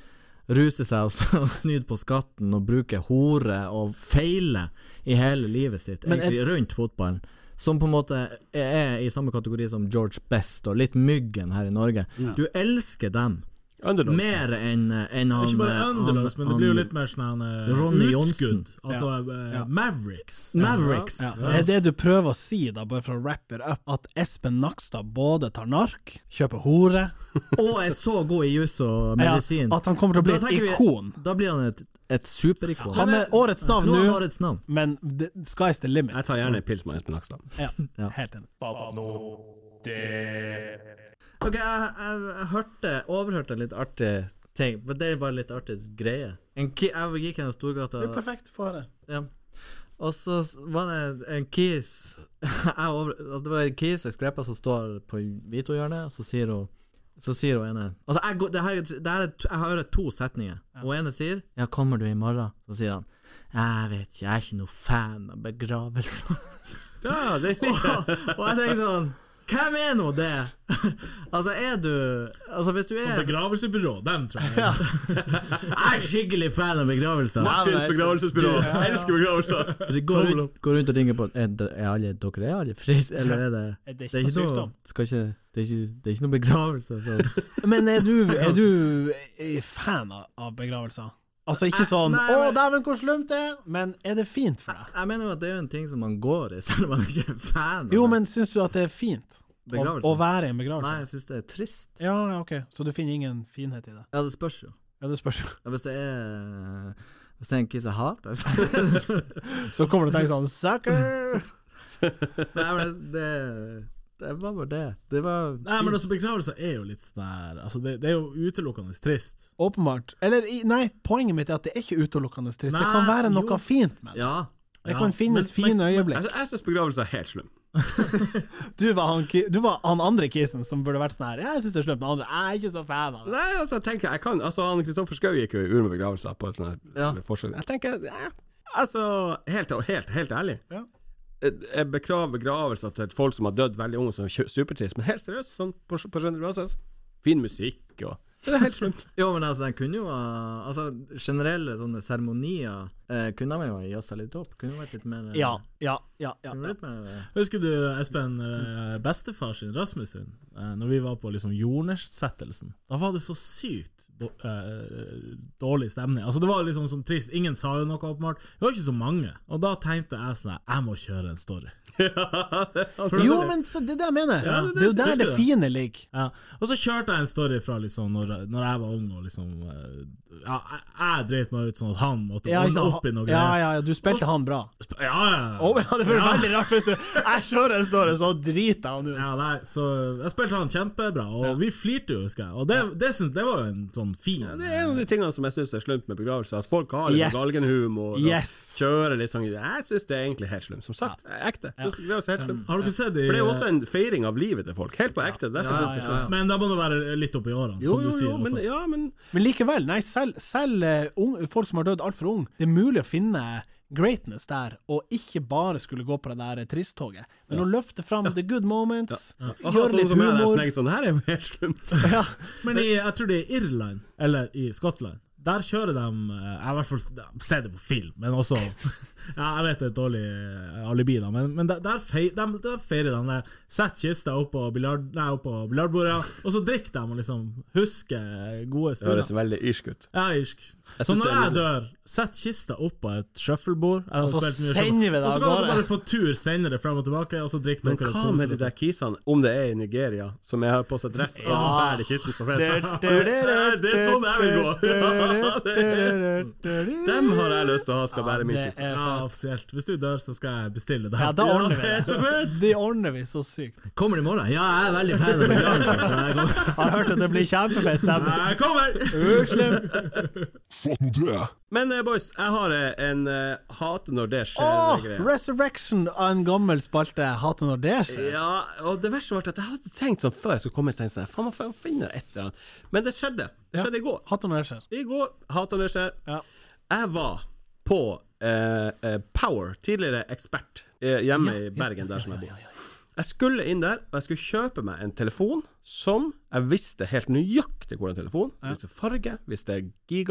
S3: ruser seg og, *laughs* s- og snyter på skatten og bruker hore og feiler i hele livet sitt,
S2: Men er-
S3: egentlig rundt fotballen. Som på en måte er i samme kategori som George Best og litt Myggen her i Norge. Du elsker dem
S4: Underdogs.
S3: mer enn enn han
S5: Ikke bare
S3: eh,
S5: underdogs,
S3: han-
S5: men det blir jo
S3: han-
S5: litt mer sånn eh,
S3: Ronny Johnsen.
S5: utskudd. Altså eh,
S2: Ja.
S5: Mavericks.
S3: Mavericks.
S2: Ja. Er det du prøver å si, da, bare for å wrap it up, at Espen Nakstad både tar nark, kjøper hore
S3: *laughs* Og er så god i jus og
S2: ja,
S3: medisin.
S2: At han kommer til å bli
S3: Da
S2: et
S3: tenker vi-
S2: ikon?
S3: Da blir han et, et superikon.
S2: Han er årets navn
S3: Nå er han
S2: nå,
S3: årets navn.
S2: men the sky's the limit.
S4: Jeg tar gjerne en pils med Espen Aksland.
S2: Ja,
S3: Ja.
S2: helt enig.
S3: Ok, jeg, jeg, jeg hørte, overhørte en litt artig ting, men det er bare litt artig greie. En ki, jeg gikk gjennom Storgata,
S2: perfekt for det.
S3: ja. og så s- var det en kis *laughs* jeg over, altså Det var en kis jeg skrepa som står på Vito-hjørnet, og så sier hun så sier hun ene Altså, jeg, går- det her, det her er, t- jeg hører to setninger. Og ene sier 'Ja, kommer du i morgen?' Så sier han 'Jeg vet ikke, jeg er ikke noe fan av begravelser'.
S4: *laughs* Ja, det
S3: og, og jeg tenker sånn Hvem er nå det? *laughs* altså, er du Altså, hvis du er
S5: Begravelsebyrå, dem tror jeg.
S3: Jeg er skikkelig fan av begravelser.
S4: Martins begravelsesbyrå. Jeg elsker
S3: *laughs*
S4: begravelser.
S3: Du går rundt, går rundt og ringer på Er, det- er alle dere er alle friske, eller er det
S2: Er det ikke
S3: Det er ikke
S2: noe
S3: noe
S2: sykdom?
S3: skal ikke, det, er ikke, det er ikke noe begravelse.
S2: *laughs*
S3: Så.
S2: Men er du, er du eh, fan av- av begravelser? Altså ikke sånn
S3: nei,
S2: 'Å,
S3: men-
S2: dæven, hvor slumt det er', men er det fint for deg?
S3: Jeg mener jo at det er jo en ting som man går i, *laughs* selv om man ikke er fan. av
S2: Jo,
S3: det.
S2: men syns du at det er fint å,
S3: Begravelse?
S2: å være i en
S3: Nei,
S2: begravelse?
S3: jeg syns det er trist.
S2: Ja, ja, ok, så du finner ingen finhet i det?
S3: Ja, det spørs jo.
S2: Ja, det spørs.
S3: *laughs* Ja, hvis det er Hvis det er en kiss jeg hater, så *laughs*
S2: Så kommer du til å tenke sånn 'sucker'.
S3: Nei, men det, det var bare det. Det var
S5: Nei, men altså, begravelser er jo litt sånn her Altså, det, det er jo utelukkende trist.
S2: Åpenbart. Eller i- nei, poenget mitt er at det er ikke utelukkende trist. Det
S5: Nei,
S2: kan være noe
S5: jo.
S2: fint med det.
S3: Ja.
S2: Det
S5: Ja,
S2: kan finnes
S5: men- men-
S2: fine øyeblikk.
S4: Altså, Jeg, jeg syns begravelser er helt slum.
S2: Du var han, ki- du var han andre kisen som burde vært sånn her. Jeg syns det er slumt, men andre jeg er ikke så fan av det.
S4: Nei, altså, jeg tenker jeg kan Altså, han Kristoffer Schou gikk jo i ur med begravelser på et sånt her
S3: Ja.
S4: forsøk. Jeg tenker ja. Altså, helt, helt, helt ærlig.
S2: Ja.
S4: Jeg beklager begravelser til folk som har dødd veldig unge, som er kjø- supertrist, men helt seriøst, sånn på, på generell basis. Fin musikk og Det er helt slumt.
S3: Jo, men altså, den kunne jo ha Altså, generelle sånne seremonier eh, kunne man jo ha jazza litt opp. Kunne jo vært litt mer eh,
S2: Ja, ja, ja. ja,
S3: kunne
S2: ja.
S3: vært litt mer,
S5: Husker du Espen, eh, bestefar sin, Rasmus sin, eh, når vi var på liksom jordnedsettelsen? Da var det så sykt då- eh, dårlig stemning. Altså, det var liksom sånn trist. Ingen sa jo noe, åpenbart. Det var ikke så mange. Og da tenkte jeg sånn her, Jeg må kjøre en story. For
S2: Jo,
S5: da-
S2: men så, det er det jeg mener.
S5: Ja, det er
S2: det, er jo der
S5: husker
S2: det
S5: du.
S2: fine ligger.
S5: Ja. Og så kjørte jeg en story fra liksom når, når jeg var ung og liksom eh, Ja, jeg, jeg dreit meg ut sånn at han måtte
S2: Ja, ikke
S5: ordne
S2: sant?
S5: opp i noe
S2: ja,
S5: greier.
S2: ja, ja, du spilte han bra.
S5: Sp- Ja, ja, ja.
S2: Å, ja, det blir veldig rart hvis du Jeg kjører en story, så driter han ut.
S5: Ja, nei, så jeg spilte han kjempebra, og vi flirte jo, husker jeg. Og det, det, syns- det var jo en sånn fin
S4: Det er en av de tingene som jeg syns er slumt med begravelser, at folk har litt sånn
S2: Yes.
S4: galgenhumor og
S2: Yes.
S4: kjører litt sånn Jeg syns det er egentlig helt slumt, som sagt. Ekte. Så Det, det er jo helt slutt.
S5: Har dere sett i
S4: For det er jo også en feiring av livet til folk. Helt på ekte. Derfor
S3: Ja,
S4: synes jeg
S3: ja, ja.
S5: Men da må du være litt oppi årene,
S4: Jo,
S5: som du
S4: jo,
S5: sier
S4: jo, men,
S5: også.
S4: ja, men
S2: Men likevel, nei, selv, selv eh, ung- folk som har dødd altfor ung, det er mulig å finne greatness der, og ikke bare skulle gå på det der tristtoget, men å løfte fram the good moments,
S4: Aha,
S2: gjøre
S4: sånn
S2: litt
S4: som jeg der, som
S2: humor.
S4: tenker sånn, her er jo helt slumt.
S2: Ja.
S5: Men i, jeg tror det er Irland, eller i Skottland. Der kjører de eh, Jeg har i hvert fall sett det på film, men
S4: *laughs*
S5: også ja, Jeg vet det er et dårlig eh, alibi, da, men, men der, der, fei, der, der feirer de det. Setter kista opp på biljard- nei, opp på biljardbordet, og så drikker de og liksom husker gode
S4: *laughs* Det høres
S5: stunder.
S4: veldig irsk ut.
S5: Ja, irsk.
S4: Jeg
S5: Så
S4: synes
S5: når
S4: det er
S5: jeg
S4: nydelig.
S5: dør, sett kista opp på et shufflebord jeg har
S2: Og så
S5: spilt mye
S2: sender
S5: shuffle-
S2: vi det
S5: Og så
S2: av
S5: kan dere
S2: gårde.
S5: bare på tur sende det frem og tilbake, og så drikker
S4: Men
S5: dere og
S4: hva
S5: koser
S4: med de
S5: dere.
S4: der kisene, om det er i Nigeria, som jeg har på seg dress og
S2: Ja.
S4: bærer kisten som heter Det er sånn jeg vil *laughs* gå! Dem har jeg lyst til å ha skal bære min
S2: det
S4: kiste.
S2: er
S5: Ja, offisielt. Hvis du dør, så skal jeg bestille det.
S2: Ja, da ordner vi
S5: det. er
S2: det.
S5: så fett.
S2: Det ordner vi så sykt.
S3: Kommer det i morgen? Ja, jeg er veldig fan av begravelser. så jeg kommer.
S2: Jeg har hørt at det blir kjempefett stemning.
S5: Jeg kommer!
S2: Uslemt.
S1: Fått nå det!
S4: Men eh, boys, jeg har eh, en eh, hate når det
S2: Åh,
S4: skjer-greie.
S2: Resurrection av en gammel spalte. Jeg Hater når det skjer.
S4: Ja, og det verste var at jeg hadde tenkt sånn før jeg skulle komme, så tenkte jeg faen, man får finne et eller annet. Men det skjedde. Det skjedde i går.
S2: Hater når det skjer.
S4: I går, hata når det skjer.
S2: Ja.
S4: Jeg var på eh, eh, Power, tidligere ekspert, eh, hjemme i Bergen, der som jeg bor. Jeg skulle inn der, og jeg skulle kjøpe meg en telefon som jeg visste helt nøyaktig hvordan telefon. Visste farge, visste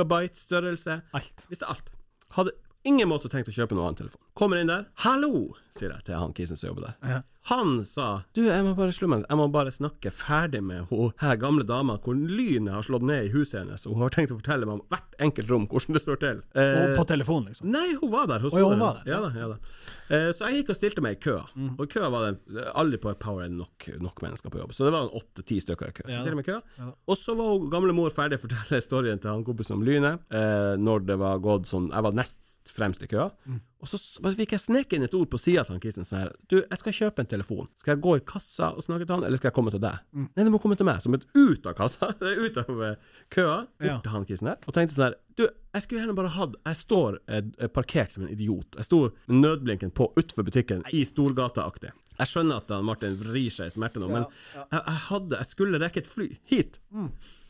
S4: gigabyte-størrelse,
S2: Alt.
S4: visste alt. Hadde ingen måte tenkt å kjøpe noen annen telefon. Kommer inn der. 'Hallo', sier jeg til han kisen som jobber der. Han sa 'Du, jeg må bare slå meg ned. Jeg må bare snakke ferdig med hun her gamle dama hvor lynet har slått ned i huset hennes, og hun har tenkt å fortelle meg om hvert enkelt rom hvordan det står til'.
S2: Og
S4: Eh,
S2: på telefon, liksom.
S4: Nei, hun var der.
S2: ja,
S4: Hun sto
S2: hun
S4: der.
S2: var der. Mm.
S4: Ja da, ja da. Eh, så jeg gikk og stilte meg i køa. Og i køa var det aldri på Power er det nok, nok mennesker på jobb. Så det var åtte-ti stykker i kø. Så jeg stilte meg i køa. Og så var hun gamle mor ferdig å fortelle storyen til han kompisen om lynet. eh, når det var gått sånn Jeg var nest fremst i køa.
S2: Mm.
S4: Og så s- bare fikk jeg sneke inn et ord på sida til han Kisen sånn her Du, jeg skal kjøpe en telefon. Skal jeg gå i kassa og snakke til han, eller skal jeg komme til deg? Nei, du må komme til meg. Som et ut av kassa. *laughs* Det er ut av eh, køa. Bort
S2: Ja.
S4: til han kisen her. Og tenkte sånn her Du, jeg skulle gjerne bare hatt Jeg står eh, parkert som en idiot. Jeg sto med nødblinken på utenfor butikken i Storgata-aktig. Jeg skjønner at han Martin vrir seg i smerte nå, men Jeg, jeg hadde Jeg skulle rekke et fly hit.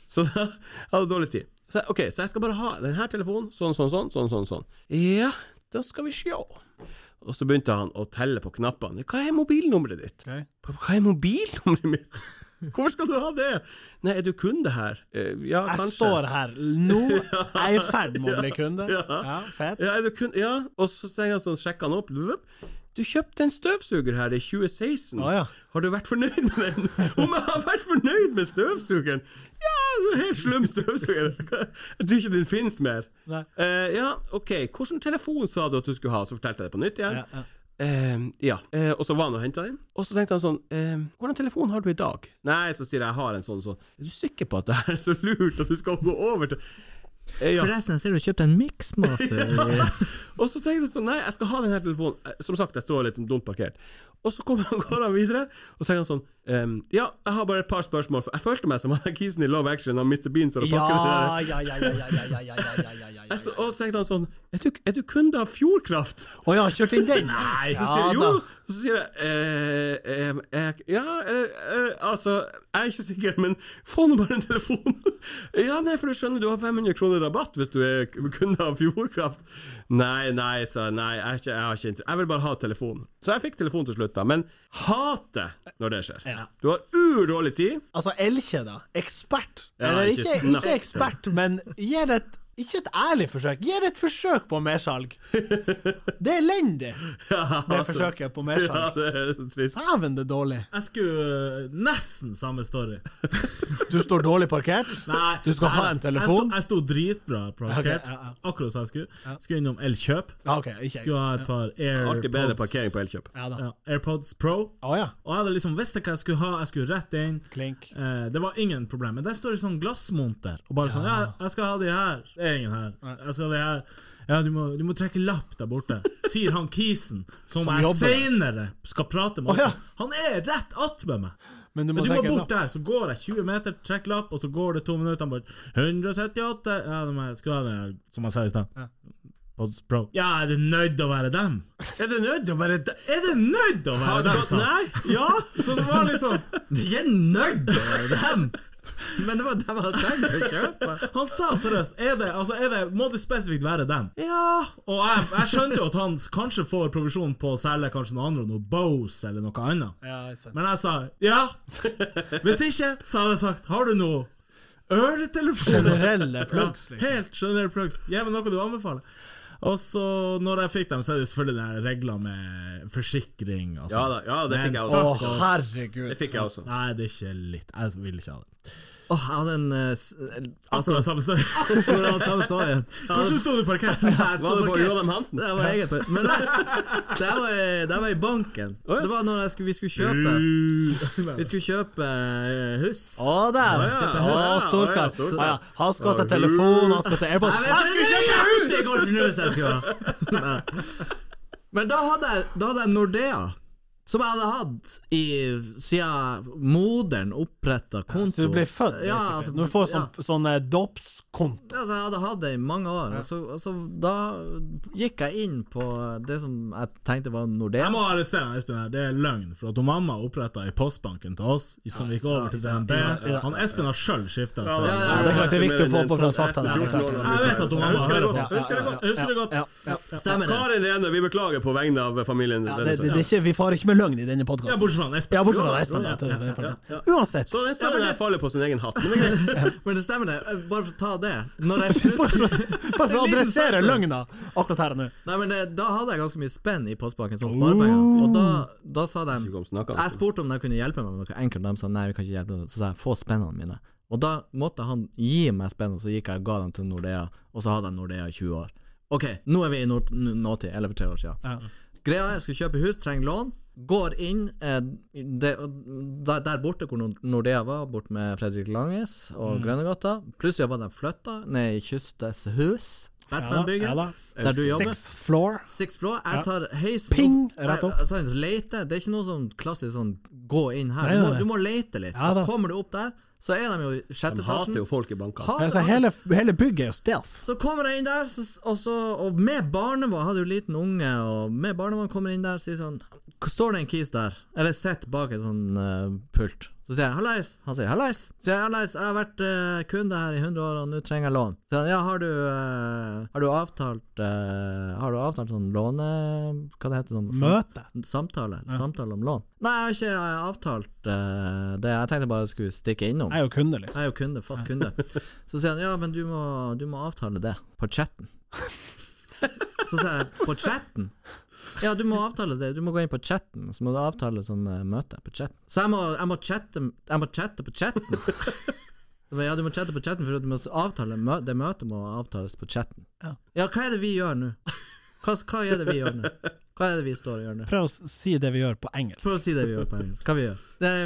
S4: Så *laughs* da jeg hadde dårlig tid. Så, jeg- ok, så jeg skal bare ha denne telefonen, sånn, sånn, sånn, sånn, sånn, sånn. Ja, da skal vi sjå. Og så begynte han å telle på knappene. Hva er mobilnummeret ditt?
S2: Ok.
S4: Hva er mobilnummeret mitt? *laughs* Hvorfor skal du ha det? Nei, er du kunde her? Eh, ja,
S2: Jeg
S4: kanskje.
S2: står her
S4: *laughs*
S2: nå. Jeg er i ferd med å bli kunde. Ja, fett.
S4: Ja, er du kun, ja. og så sier han sånn, sjekker han opp. Blup. Du kjøpte en støvsuger her i 2016.
S2: Å, Ah, ja.
S4: Har du vært fornøyd med den? *laughs* Om jeg har vært fornøyd med støvsugeren? Ja, det er en helt slum støvsuger. Jeg tror ikke den finnes mer.
S2: Nei.
S4: Eh, ja, ok. Hvilken telefon sa du at du skulle ha? Så fortalte jeg det på nytt igjen.
S2: Ja, ja.
S4: Eh, ja. Eh, og så var han og henta den. Og så tenkte han sånn eh, 'Hvordan telefon har du i dag?' Nei, så sier jeg 'jeg har en sånn sånn'. Er du sikker på at det her er så lurt at du skal gå over til Eh, ja.
S3: Forresten, jeg ser du kjøpte en *laughs* mixmaster.
S4: Og så tenkte jeg sånn, nei, jeg skal ha den her telefonen. Eh, Som sagt, jeg står litt dumt parkert. Og så kommer han, *laughs* går han videre, og så tenker han sånn, ehm, ja, jeg har bare et par spørsmål. For jeg følte meg som *laughs* han kisen i Love Action, han Mr. Bean, som har pakket det der.
S2: Ja, ja, ja, ja, ja, ja, ja, ja, ja, ja, ja, ja.
S4: Jeg så- Og så tenkte han sånn, er du, er du kunde av Fjordkraft?
S2: Å ja, kjørt inn den? Nei,
S4: Så sier jeg jo, og så sier jeg, eh, ehm, jeg ja, eh, eh, altså, jeg er ikke sikker, men få nå bare en telefon. *laughs* ja, nei, for du skjønner, du har 500 kroner rabatt hvis du er kunde av Fjordkraft. Nei, nei, sa jeg, nei, jeg, er ikke, jeg har ikke inter- Jeg vil bare ha telefonen. Så jeg fikk telefon til slutt, da, men hater når det skjer.
S2: Ja.
S4: Du har udårlig tid.
S2: Altså, Elkje, da. Ekspert.
S4: Ja,
S2: Eller
S4: ikke
S2: ikke,
S4: snakk
S2: ikke ekspert, men gi det et ikke et ærlig forsøk. Gi det et forsøk på mersalg. Det er elendig, det forsøket på
S4: *laughs* Ja,
S2: mersalg.
S4: det er så trist.
S2: Dæven, det er dårlig.
S5: Jeg skulle øh, nesten samme story.
S2: Du står dårlig parkert. Du skal ha en telefon.
S5: Jeg sto, jeg sto dritbra parkert,
S2: Ok, ja, ja.
S5: akkurat som jeg skulle. Skulle innom Elkjøp.
S2: Ja, OK, ikke jeg.
S5: Skulle ha et par
S4: Alltid bedre parkering
S5: AirPods,
S4: på Elkjøp.
S2: Ja da.
S5: ja, AirPods Pro.
S2: Å ja.
S5: Og jeg hadde liksom visst hva jeg skulle ha, jeg skulle rett inn.
S2: Klink.
S5: Eh, det var ingen problem. Men der står det sånn glassmonter, og bare sånn Ja, jeg skal ha de her. Det er ingen her. Jeg skal ha de her. Ja, du må, du må trekke lapp der borte, sier han kisen, som,
S2: Som
S5: jeg
S2: jobber der.
S5: seinere skal prate med.
S2: Å, ja.
S5: Han er rett attmed meg.
S2: Men du må
S5: Men du må
S2: trekke en
S5: bort
S2: lapp.
S5: der, så går jeg 20 meter, trekker lapp, og så går det to minutter, han bare 178 Ja, de er, skulle ha den her, som jeg sa i stad. AirPods Pro. Ja, er det nødt å være dem?
S4: Er det nødt å være det?
S5: Er det nødt å
S4: Har
S5: være
S4: du
S5: dem?
S4: gått nei?
S5: Ja, så det var liksom
S3: De er nødt til å være dem! Men det var dem jeg trengte å kjøpe.
S5: Han sa seriøst er det, altså, er det, Må det spesifikt være dem? Ja Og jeg, jeg skjønte jo at han s- kanskje får provisjon på å selge kanskje noe annet, noe Bose eller noe annet.
S2: Ja, jeg ser.
S5: Men jeg sa ja. Hvis ikke, så hadde jeg sagt har du noe øretelefoner?
S2: Generelle plugs, liksom.
S5: Helt generell plugs. Gi meg noe du anbefaler. Og så, når jeg fikk dem, så er det selvfølgelig den her regler med forsikring og
S4: Ja
S5: sånn.
S4: da, ja, det
S5: Men
S4: fikk jeg
S2: Å,
S4: også.
S2: herregud.
S4: Det fikk jeg også.
S5: Nei, det er ikke litt. Jeg vil ikke ha det.
S3: Åh, jeg hadde en eh, s- eh,
S5: Akkurat
S3: Altså,
S5: samme sted.
S3: akkurat samme storyen.
S5: Hvordan sto du
S4: *laughs*
S5: parkert? Jeg
S4: Var det på
S3: parkert.
S4: Joachim Hansen?
S3: Det var eget par- Men nei, det var, i- det var i banken.
S4: ja.
S3: Det var når jeg skulle, vi skulle kjøpe Vi skulle kjøpe eh, hus.
S2: Å, der!
S4: ja.
S2: Kjøpe
S4: Å,
S2: hus.
S4: ja,
S2: Storkar.
S4: storkar.
S2: Å, ja. Han skal ha seg telefon, han skal ha seg AirPods.
S3: Jeg skulle kjøpe Det går ikke nå hvis jeg skulle ha. Nei. Men da hadde jeg, da hadde jeg Nordea. Som jeg hadde hatt i, siden moderen oppretta konto.
S2: Så du ble født,
S3: Ja,
S2: basically.
S3: altså,
S2: Når du får
S3: ja.
S2: sånn, sånn eh, dopskonto.
S3: Altså, jeg hadde hatt det i mange år. Og så, og så da gikk jeg inn på det som jeg tenkte var Nordea.
S5: Jeg må arrestere han, Espen her, det er løgn. For at hun mamma oppretta i postbanken til oss, i- som gikk over til DNB. Han Espen har sjøl skifta.
S3: ja,
S2: det
S3: ja.
S2: er klart det er viktig å få på plass fakta der.
S5: Jeg vet at hun mamma
S4: Husker det
S5: hører på.
S4: godt. Husker det godt.
S5: Jeg husker det godt.
S2: Ja, ja, ja.
S3: Stemmer det.
S4: Karin Rene, vi beklager på vegne av familien.
S2: Ja, det,
S4: Rene.
S2: det, det er ikke, vi farer ikke med løgn i denne
S5: Ja,
S2: podkasten.
S5: bortsett fra han Espen.
S2: Ja, bortsett fra Espen. ja, det- det er for det. Uansett. *laughs*
S4: Så den storyen her faller på sin egen hatt. Men det er greit.
S3: Men det stemmer det. Bare for å ta det.
S2: *laughs*
S3: Når jeg slutt,
S2: Bare for bare for å
S3: En liten
S2: adressere
S3: sak, så.
S2: løgna akkurat her og nå.
S3: Nei, men det, Da hadde jeg ganske mye spenn i postbanken som sparepenger. Og da, da sa de
S4: Ikke kom altså." snakka,
S3: Jeg spurte om de kunne hjelpe meg med noe enkelt. De sa nei, vi kan ikke hjelpe deg. Så sa jeg få spennene mine. Og da måtte han gi meg spennene, så gikk jeg og ga dem til Nordea. Og så hadde jeg Nordea i 20 år. Ok, nå er vi i nord- n- nåtid, eller for tre år siden. Greia er, jeg skal kjøpe hus, trenger lån. Går inn eh, det, der, der borte hvor Nord- Nordea var, bort med Fredrik Langes og
S2: Mm.
S3: Grønnegata. Plutselig var de flytta ned i Kystes hus, Batman-bygget,
S2: ja da.
S3: der du jobber.
S2: Sixth floor.
S3: Six floor. Jeg tar heisen
S2: Ping, rett opp.
S3: Nei, sant, lete. Det er ikke noe sånn klassisk sånn gå inn her.
S2: Nei,
S3: Du
S2: nei,
S3: må,
S2: nei.
S3: du må lete litt.
S2: Ja da.
S3: Kommer du opp der, så er de jo i sjette
S4: De
S3: etasjen.
S4: hater jo folk i banker.
S3: Hater
S2: Altså,
S3: alt.
S2: hele, hele bygget er jo stealth.
S3: Så kommer jeg inn der, så, og, så, og med barnevogn Hadde jo liten unge, og med barnevogn kommer jeg inn der og sier sånn Står det en kis der? Eller sitter bak en sånn eh, pult. Så sier jeg 'hallais'. Han sier 'hallais'. Så sier jeg 'hallais, jeg har vært eh, kunde her i 100 år, og nå trenger jeg lån'. Så sier han 'ja, har du, eh, har du avtalt eh, Har du avtalt sånn låne... Hva det heter det? Sånn,
S2: Møte.
S3: Samtale. Samtale om lån. Nei, jeg har ikke eh, avtalt eh, det. Jeg tenkte bare jeg skulle stikke innom.
S2: Jeg er jo kunde, liksom.
S3: Jeg er jo kunde, fast kunde. Så sier han ja, men du må, du må avtale det på chatten. Så sier jeg på chatten? Ja, du må avtale det. Du må gå inn på chatten, så må du avtale sånn eh, møte på chatten. Så jeg må, jeg må chatte Jeg må chatte på chatten. Så bare, Ja, du må chatte på chatten, for du må avtale mø det møtet må avtales på chatten.
S2: Ja.
S3: Ja, hva er det vi gjør nå? Hva, hva er det vi gjør nå? Hva er det vi står og gjør nå?
S2: Prøv å s- si det vi gjør på engelsk.
S3: Prøv å si det vi gjør på engelsk. Hva vi gjør det er,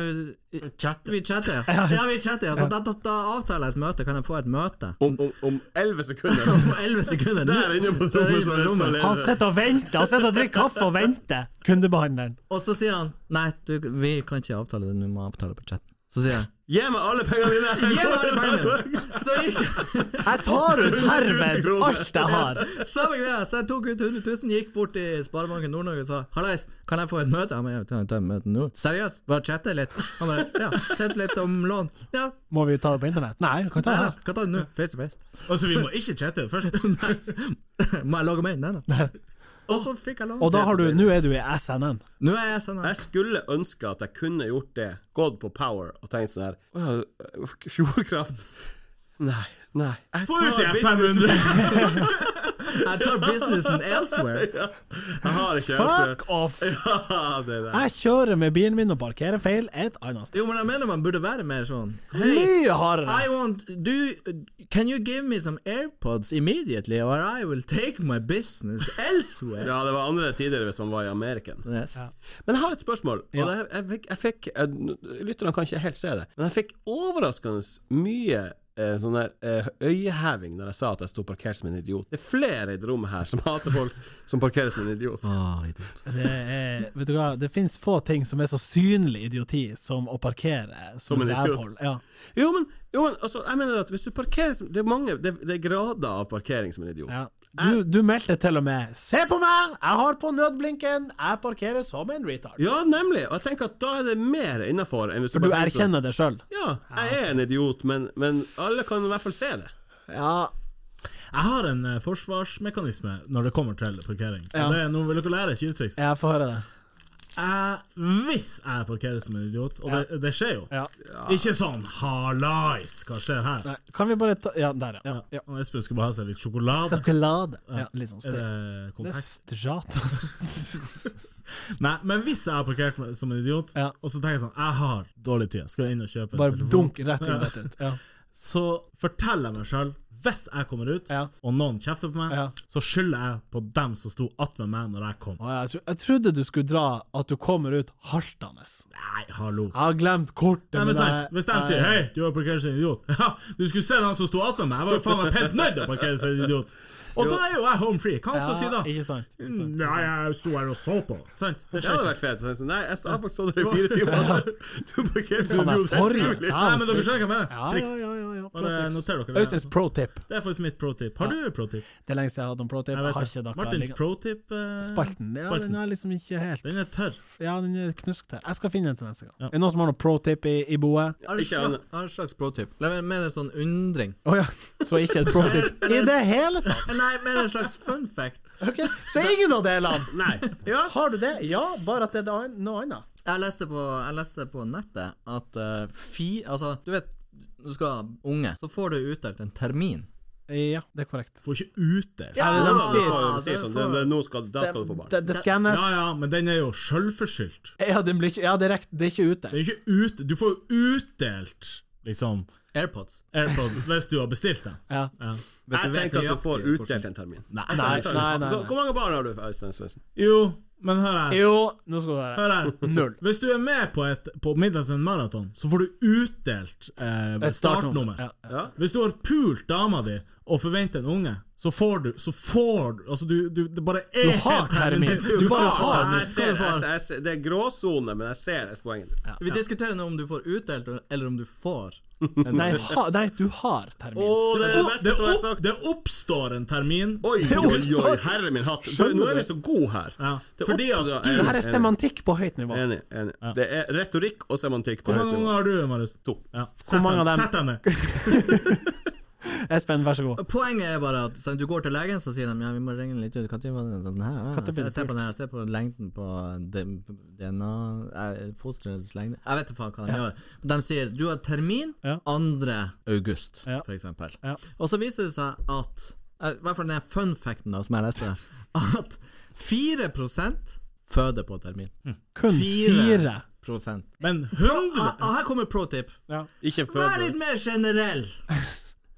S3: Vi chatter,
S4: *laughs*
S3: ja. ja vi chatter, ja. Så da, da, da avtaler jeg et møte. Kan jeg få et møte?
S4: Om- Om om elleve sekunder
S3: På 11 sekunder. nå.
S4: Der inne på
S3: Der inne
S4: rommet som
S3: på
S4: er
S3: rommet.
S2: Han
S4: installert.
S2: sitter og venter! Han sitter og drikker kaffe og venter! Kundebehandleren.
S3: Og så sier han Nei, du, vi kan ikke avtale det, du må avtale på chatten. Så
S4: *laughs*
S3: sier jeg
S4: Gi meg alle pengene dine!
S3: Gi meg alle pengene! Så gikk
S2: Jeg tar ut herved alt jeg har!
S3: Samme greia. Så jeg tok ut 100 000, gikk bort til Sparebanken Nord-Norge og sa Hallais, kan jeg få et møte? Han bare, «Ja, vi kan ta et møte nå. Seriøst? Bare chatte litt? Han bare Ja, chatte litt om lån. Ja,
S2: Må vi ta det på internett? Nei, du kan ta det
S3: ja,
S2: her.
S3: kan ta det nå. Face to face.
S5: Og så Altså, vi må ikke chatte først.
S3: Må jeg logge meg inn? *laughs* Nei, nei. Og så fikk jeg lån.
S2: Og da har du Nå er du i SNN.
S3: Nå er jeg sånn her.
S4: Jeg skulle ønske at jeg kunne gjort det, gått på Power og tenkt sånn her Å ja, Fjordkraft Nei, nei. Jeg
S5: Få ut
S4: tar
S5: de
S4: business-
S5: 500!
S3: Jeg tar businessen elsewhere.
S4: Jeg har ikke
S2: Fuck off!
S4: *laughs* Ja, det der.
S2: Jeg kjører med bilen min og parkerer feil et annet sted.
S3: Jo, men jeg mener man burde være mer sånn. Hei,
S2: Mye hardere!
S3: I want do, Can you give me some AirPods immediately, or I will take my business elsewhere?
S4: Ja, det var andre tider hvis man var i Ameriken.
S3: Yes.
S4: Men jeg har et spørsmål. Og
S2: Ja.
S4: det her, jeg fikk, jeg fikk jeg- Lytterne kan ikke helt se det, men jeg fikk overraskende mye eh, sånn der eh, øyeheving når jeg sa at jeg sto parkert som en idiot. Det er flere i det rommet her som *laughs* hater folk som parkerer som en idiot.
S2: Ah. Det er, vet du hva, det finnes få ting som er så synlig idioti som å parkere som,
S4: Som en idiot.
S2: rævhold. Ja.
S4: Jo, men, jo, men altså, jeg mener at hvis du parkerer som Det er mange Det, det er grader av parkering som en idiot.
S2: Ja. Du, du meldte til og med 'Se på meg! Jeg har på nødblinken! Jeg parkerer som en retard'.
S4: Ja, nemlig! Og jeg tenker at da er det mer innafor.
S2: For du erkjenner det sjøl?
S4: sånn, Ja, jeg er en idiot, men, men alle kan i hvert fall se det.
S2: Ja.
S5: Jeg har en eh, forsvarsmekanisme når det kommer til parkering. Og
S2: Ja.
S5: Det er, nå vil dere lære et tjuvtriks.
S2: Jeg får høre det.
S5: Jeg, hvis jeg parkerer som en idiot, og det, det skjer jo
S2: Ja.
S5: Ikke sånn 'hallais', hva skjer her?
S2: Nei, Kan vi bare ta Ja, der, ja. ja.
S5: Og Espen skulle bare ha seg litt sjokolade.
S2: Sjokolade. Ja, litt sånn
S5: Er
S2: stil.
S5: det
S2: Det er altså.
S5: konfekt?
S2: strat.
S5: Nei, men hvis jeg har parkert meg som en idiot,
S2: Ja.
S5: og så tenker jeg sånn Jeg har dårlig tid, skal jeg inn og kjøpe en
S2: Bare
S5: telefon?
S2: dunk rett inn, rett ut. Ja.
S5: Så forteller jeg meg sjøl, hvis jeg kommer ut,
S2: Ja.
S5: og noen kjefter på meg,
S2: Ja.
S5: så skylder jeg på dem som sto attmed meg når jeg kom.
S2: Å, jeg, tro- jeg trodde du skulle dra at du kommer ut haltende.
S5: Nei, hallo.
S2: Jeg har glemt kortet.
S5: Nei, men sant.
S2: jeg-
S5: Hvis de sier 'hei, du har parkert som en idiot', *laughs* ja, du skulle se han som sto attmed meg, jeg var jo faen meg pent nødt til å parkere som en idiot. Og da er jo jeg home free. Hva skal jeg si da? Mm,
S2: Ikke sant. Ikke sant.
S5: Nei, jeg sto her og så på. Sant? Det
S4: Det
S5: skjer
S4: hadde
S5: *laughs* ikke.
S4: vært fett. Så jeg sa, Nei, jeg har faktisk stått her i
S2: *laughs*
S4: fire timer. Du parkerte
S2: Han
S4: en
S2: er
S4: idiot. helt
S2: forrige.
S4: frivillig.
S2: Ja,
S5: Nei, men dere skjønner hva jeg mener.
S2: Ja,
S5: Triks.
S2: ja, ja, ja, ja.
S5: Bare
S2: Pro-tips.
S5: noter dere det.
S2: Øysteins pro tip.
S5: Det er faktisk mitt pro-tip. Har du pro-tip?
S2: Det er lenge siden jeg hadde en pro tip.
S5: Jeg
S2: Jeg
S5: vet
S2: har
S5: det.
S2: ikke dere
S5: Martins
S2: liggende.
S5: pro-tip eh,
S2: Spalten. Ja,
S5: spalten.
S2: den er liksom ikke helt
S5: Den er tørr.
S2: Ja, den er knuskt her. Jeg skal finne den til neste gang.
S5: Ja.
S2: Er det noen som har noen pro tip i, i boet?
S3: Jeg har en
S4: Ikke annet.
S3: slags, jeg har en slags pro-tip. Eller Mer en sånn
S2: *laughs*
S3: undring.
S2: Å ja. Så ikke et pro
S5: *laughs*
S2: tip i det hele tatt!
S3: Nei, mer en slags fun fact.
S2: Ok, Så ingen av delene!
S4: *laughs* Nei. Ja.
S2: Har du det? Ja, bare at det er da en- noe annet.
S3: Jeg leste på, jeg leste på nettet at eh, fi... Altså, du vet, du skal ha unge, så får du utdelt en termin.
S2: Ja, det er korrekt.
S5: Får ikke ut der.
S3: Ja,
S4: De
S3: det
S4: sier, de sier
S3: får-
S4: sånn det- det- Nå skal, da skal du få barn.
S2: Det, det skannes.
S5: Ja, ja, men den er jo sjølforskyldt.
S2: Ja, den blir ikke, ja det, er rekt, det er ikke ute.
S5: Den er ikke ut... Du får jo utdelt, liksom,
S3: Airpods.
S2: *laughs*
S5: AirPods hvis du har bestilt dem.
S2: Ja.
S5: Ja.
S4: Jeg
S3: Vet du- vet
S4: tenker at du får
S3: nøyaktig
S4: utdelt
S3: hvordan-
S4: en termin.
S5: Nei.
S2: Nei,
S4: Hvor
S2: nei, nei.
S4: hvor
S2: nei.
S4: mange barn har du, Øystein Svendsen?
S5: Jo, men hør her.
S2: Jo, nå skal du høre.
S5: Hør her.
S2: Null.
S5: Hvis du er med på, et, på Midlandsund Marathon, så får du utdelt eh,
S2: Et startnummer.
S5: startnummer.
S2: Ja, ja.
S4: Ja.
S5: Hvis du har pult dama di og forventer en unge, så får du Så får du Altså, du, du Det bare er
S2: Du har termin. Du bare har
S4: Nei,
S2: den.
S4: jeg ser, jeg, ser- jeg ser, det er gråsone, men jeg ser det poenget ditt.
S3: Vi diskuterer nå om du får utdelt, eller om du får.
S2: Nei, ha, nei, du har termin.
S4: Å, det er det
S5: Oh,
S4: beste
S5: det,
S4: som er
S5: opp,
S4: sagt.
S5: det oppstår en termin.
S4: Oi, oi, oi, herre min hatt. Du, nå er vi så gode her.
S5: Ja,
S4: Det
S5: fordi
S4: opp-
S5: at-
S4: Ja,
S2: Det her er
S4: enig,
S2: semantikk på høyt nivå.
S4: Enig. enig. Det er retorikk og semantikk på
S5: Hvor
S4: høyt
S5: mange
S4: nivå.
S5: unger har du, Marius?
S4: To.
S5: Ja. Sett
S2: mange
S5: den-
S2: av dem?
S5: Sett den ned.
S2: Espen, vær så god.
S3: Poenget er bare at sånn, du går til legen, så sier de ja, vi må regne litt ut. Hva tid var det? Sånn, her, ja,
S2: Når ble
S3: se,
S2: det
S3: se på den her, se på lengden på D- DNA eh, Fosterets lengde Jeg vet ikke faen hva de gjør. De sier du har termin
S2: Ja.
S3: 2. august,
S2: Ja.
S3: for eksempel.
S2: Ja.
S3: Og så viser det seg at eh, I hvert fall den her fun facten da, som jeg leste, *laughs* at 4 føder på termin.
S2: Kun
S3: Fire.
S2: fire.
S3: Prosent.
S5: Men
S2: *laughs*
S3: Og
S5: 100
S3: her kommer pro tip.
S4: Ikke
S3: Vær
S4: fød
S3: litt mer generell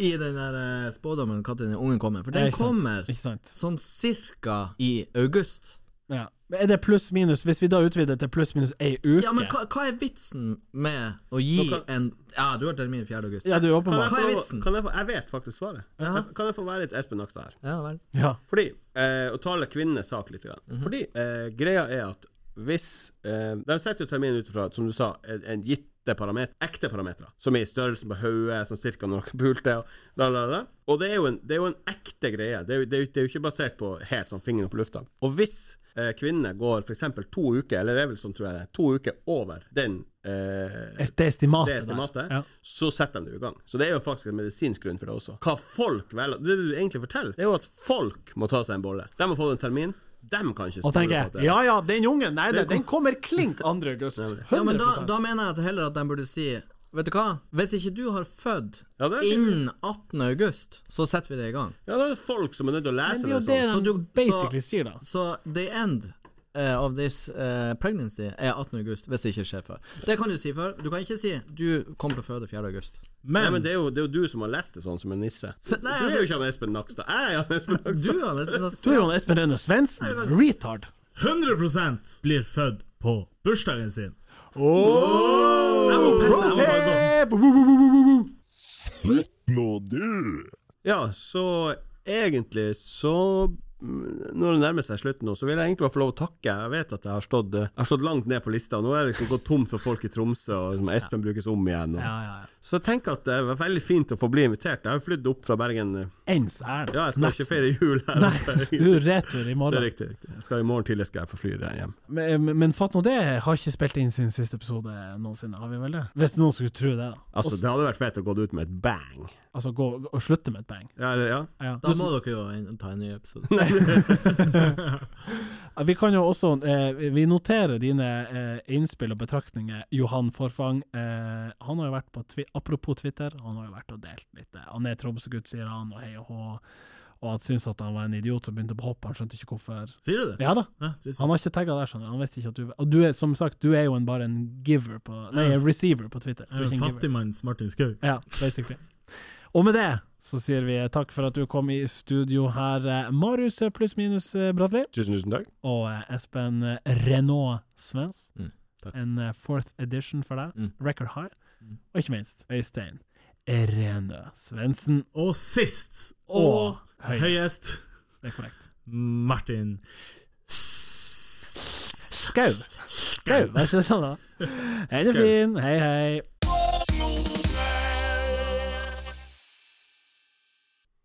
S3: i den der eh, spådommen når den ungen kommer. For den
S2: Ikke sant.
S3: kommer
S2: Ikke sant.
S3: sånn cirka i august.
S2: Ja. Men Er det pluss-minus? Hvis vi da utvider til pluss-minus ei uke
S3: Ja, men hva, hva er vitsen med å
S4: Nå
S3: gi
S4: kan-
S3: en Ja, du har termin 4. august.
S2: Ja, det er
S4: Kan jeg,
S2: åpenbart.
S3: Hva er
S4: få,
S3: vitsen?
S4: kan jeg, få, jeg vet faktisk svaret.
S3: Ja.
S4: Kan jeg få være litt Espen Nakstad her?
S3: Ja vel.
S2: Ja.
S4: Fordi, eh, å tale kvinnenes sak litt grann. Fordi eh, greia er at hvis eh, De setter jo terminen ut fra, som du sa, en, en gitte parameter, ekte parametere, som er i størrelsen på hodet, som cirka når dere pulte, og la, la, la. Og det er jo en, det er jo en ekte greie. Det er, jo- det, er, jo- det er jo ikke basert på helt sånn fingeren opp i lufta. Og hvis eh, kvinner går for eksempel to uker, eller det er vel sånn, tror jeg, det er, to uker over den eh,
S2: Det
S4: det
S2: estimatet
S4: estimatet,
S2: Ja.
S4: så setter de det i gang. Så det er jo faktisk en medisinsk grunn for det også. Hva folk velger Det du egentlig forteller, det er jo at folk må ta seg en bolle. De har fått en termin. De kan ikke
S2: Og
S4: stole på
S2: tenker
S4: at
S2: jeg
S4: det
S2: ja ja, den ungen, nei, det,
S4: Det kom-
S2: den kommer klink 2. august.
S3: Ja, men da,
S2: 100
S3: da mener jeg at heller at de burde si Vet du hva, hvis ikke du har født
S4: Ja, det er fint.
S3: innen 18. august, så setter vi det i gang.
S4: Ja, da er det folk som er nødt til å
S2: Men
S4: lese
S2: det er
S4: det
S2: jo det
S4: sånn.
S3: Så
S2: de
S3: du-
S2: basically
S3: så-
S2: sier, da.
S3: Så the end eh, of this eh, pregnancy er 18. august, hvis det ikke skjer før. Det kan du si før. Du kan ikke si du kommer til å føde 4. august.
S4: Nei,
S5: Men
S4: men det er, jo, det er jo du som har lest det sånn, som en nisse.
S3: Så-
S4: du
S3: nei,
S4: er
S3: altså-
S4: jo ikke han Espen Nakstad. Jeg er han Espen
S3: Du,
S4: Nakstad.
S3: Anne,
S2: Du er jo en Espen Rønne Svendsen. Retard.
S5: 100 blir født på bursdagen sin.
S2: Jeg
S5: må pisse, jeg må bare
S1: Nå du!
S4: Ja, så egentlig så når det nærmer seg slutten nå, så vil jeg egentlig bare få lov å takke. Jeg vet at jeg har stått, eh, jeg har stått langt ned på lista. Nå er jeg liksom gått tom for folk i Tromsø, og liksom Espen brukes om igjen. Og.
S2: Ja, ja, ja.
S4: Så jeg tenker at det var veldig fint å få bli invitert. Jeg har jo flydd opp fra Bergen. eh,
S2: Ens er det.
S4: Ja, jeg skal ikke feire jul her.
S2: *laughs*
S4: *laughs*
S2: Nei, du er retur i
S4: Det er
S2: morgen.
S4: riktig. riktig. Jeg skal I morgen tidlig skal jeg få fly hjem.
S2: Men, men fatt nå det, har ikke spilt inn sin siste episode noensinne, har vi vel det? Hvis noen skulle tro det, da.
S4: Altså, det hadde vært fett å gå ut med et bang.
S2: Altså gå og slutte med et bang.
S4: Ja, eller- ja.
S2: Ja.
S3: Da må dere jo en- ta en ny episode.
S2: Vi kan jo også eh, Vi noterer dine eh, innspill og betraktninger, Johan Forfang. Eh, han har jo vært på twi Apropos Twitter, han har jo vært og delt litt. eh, Han er Tromsø-gutt, sier han, og hei og hå. Og han syns at han var en idiot som begynte på hopp, han skjønte ikke hvorfor.
S5: Sier du det?
S2: Ja da,
S5: Ja, dritfett.
S2: han har ikke tagga der, skjønner du. Han visste ikke at du Og du er, som sagt, du er jo en, bare en giver på Nei, en receiver på Twitter. Du er
S5: Jeg er
S2: ikke en
S5: jo
S2: giver.
S5: fattigmanns Martin Skau.
S2: Ja, basically. Og med det så sier vi takk for at du kom i studio her, eh, Marius eh, pluss minus eh, Bradli,
S4: Tusen, tusen takk.
S2: og eh, Espen eh, Renault Svens.
S3: Mm, takk.
S2: en eh, fourth edition for deg,
S3: Mm.
S2: record high. Og ikke minst Øystein Renø Svendsen.
S5: Og sist,
S2: Og
S5: og
S2: høyest.
S5: høyest,
S2: Det er korrekt.
S5: Martin
S2: Skau! Skau, vær så snill, da. Hei, det er
S3: *laughs*
S4: Skau.
S2: fin. Hei, hei.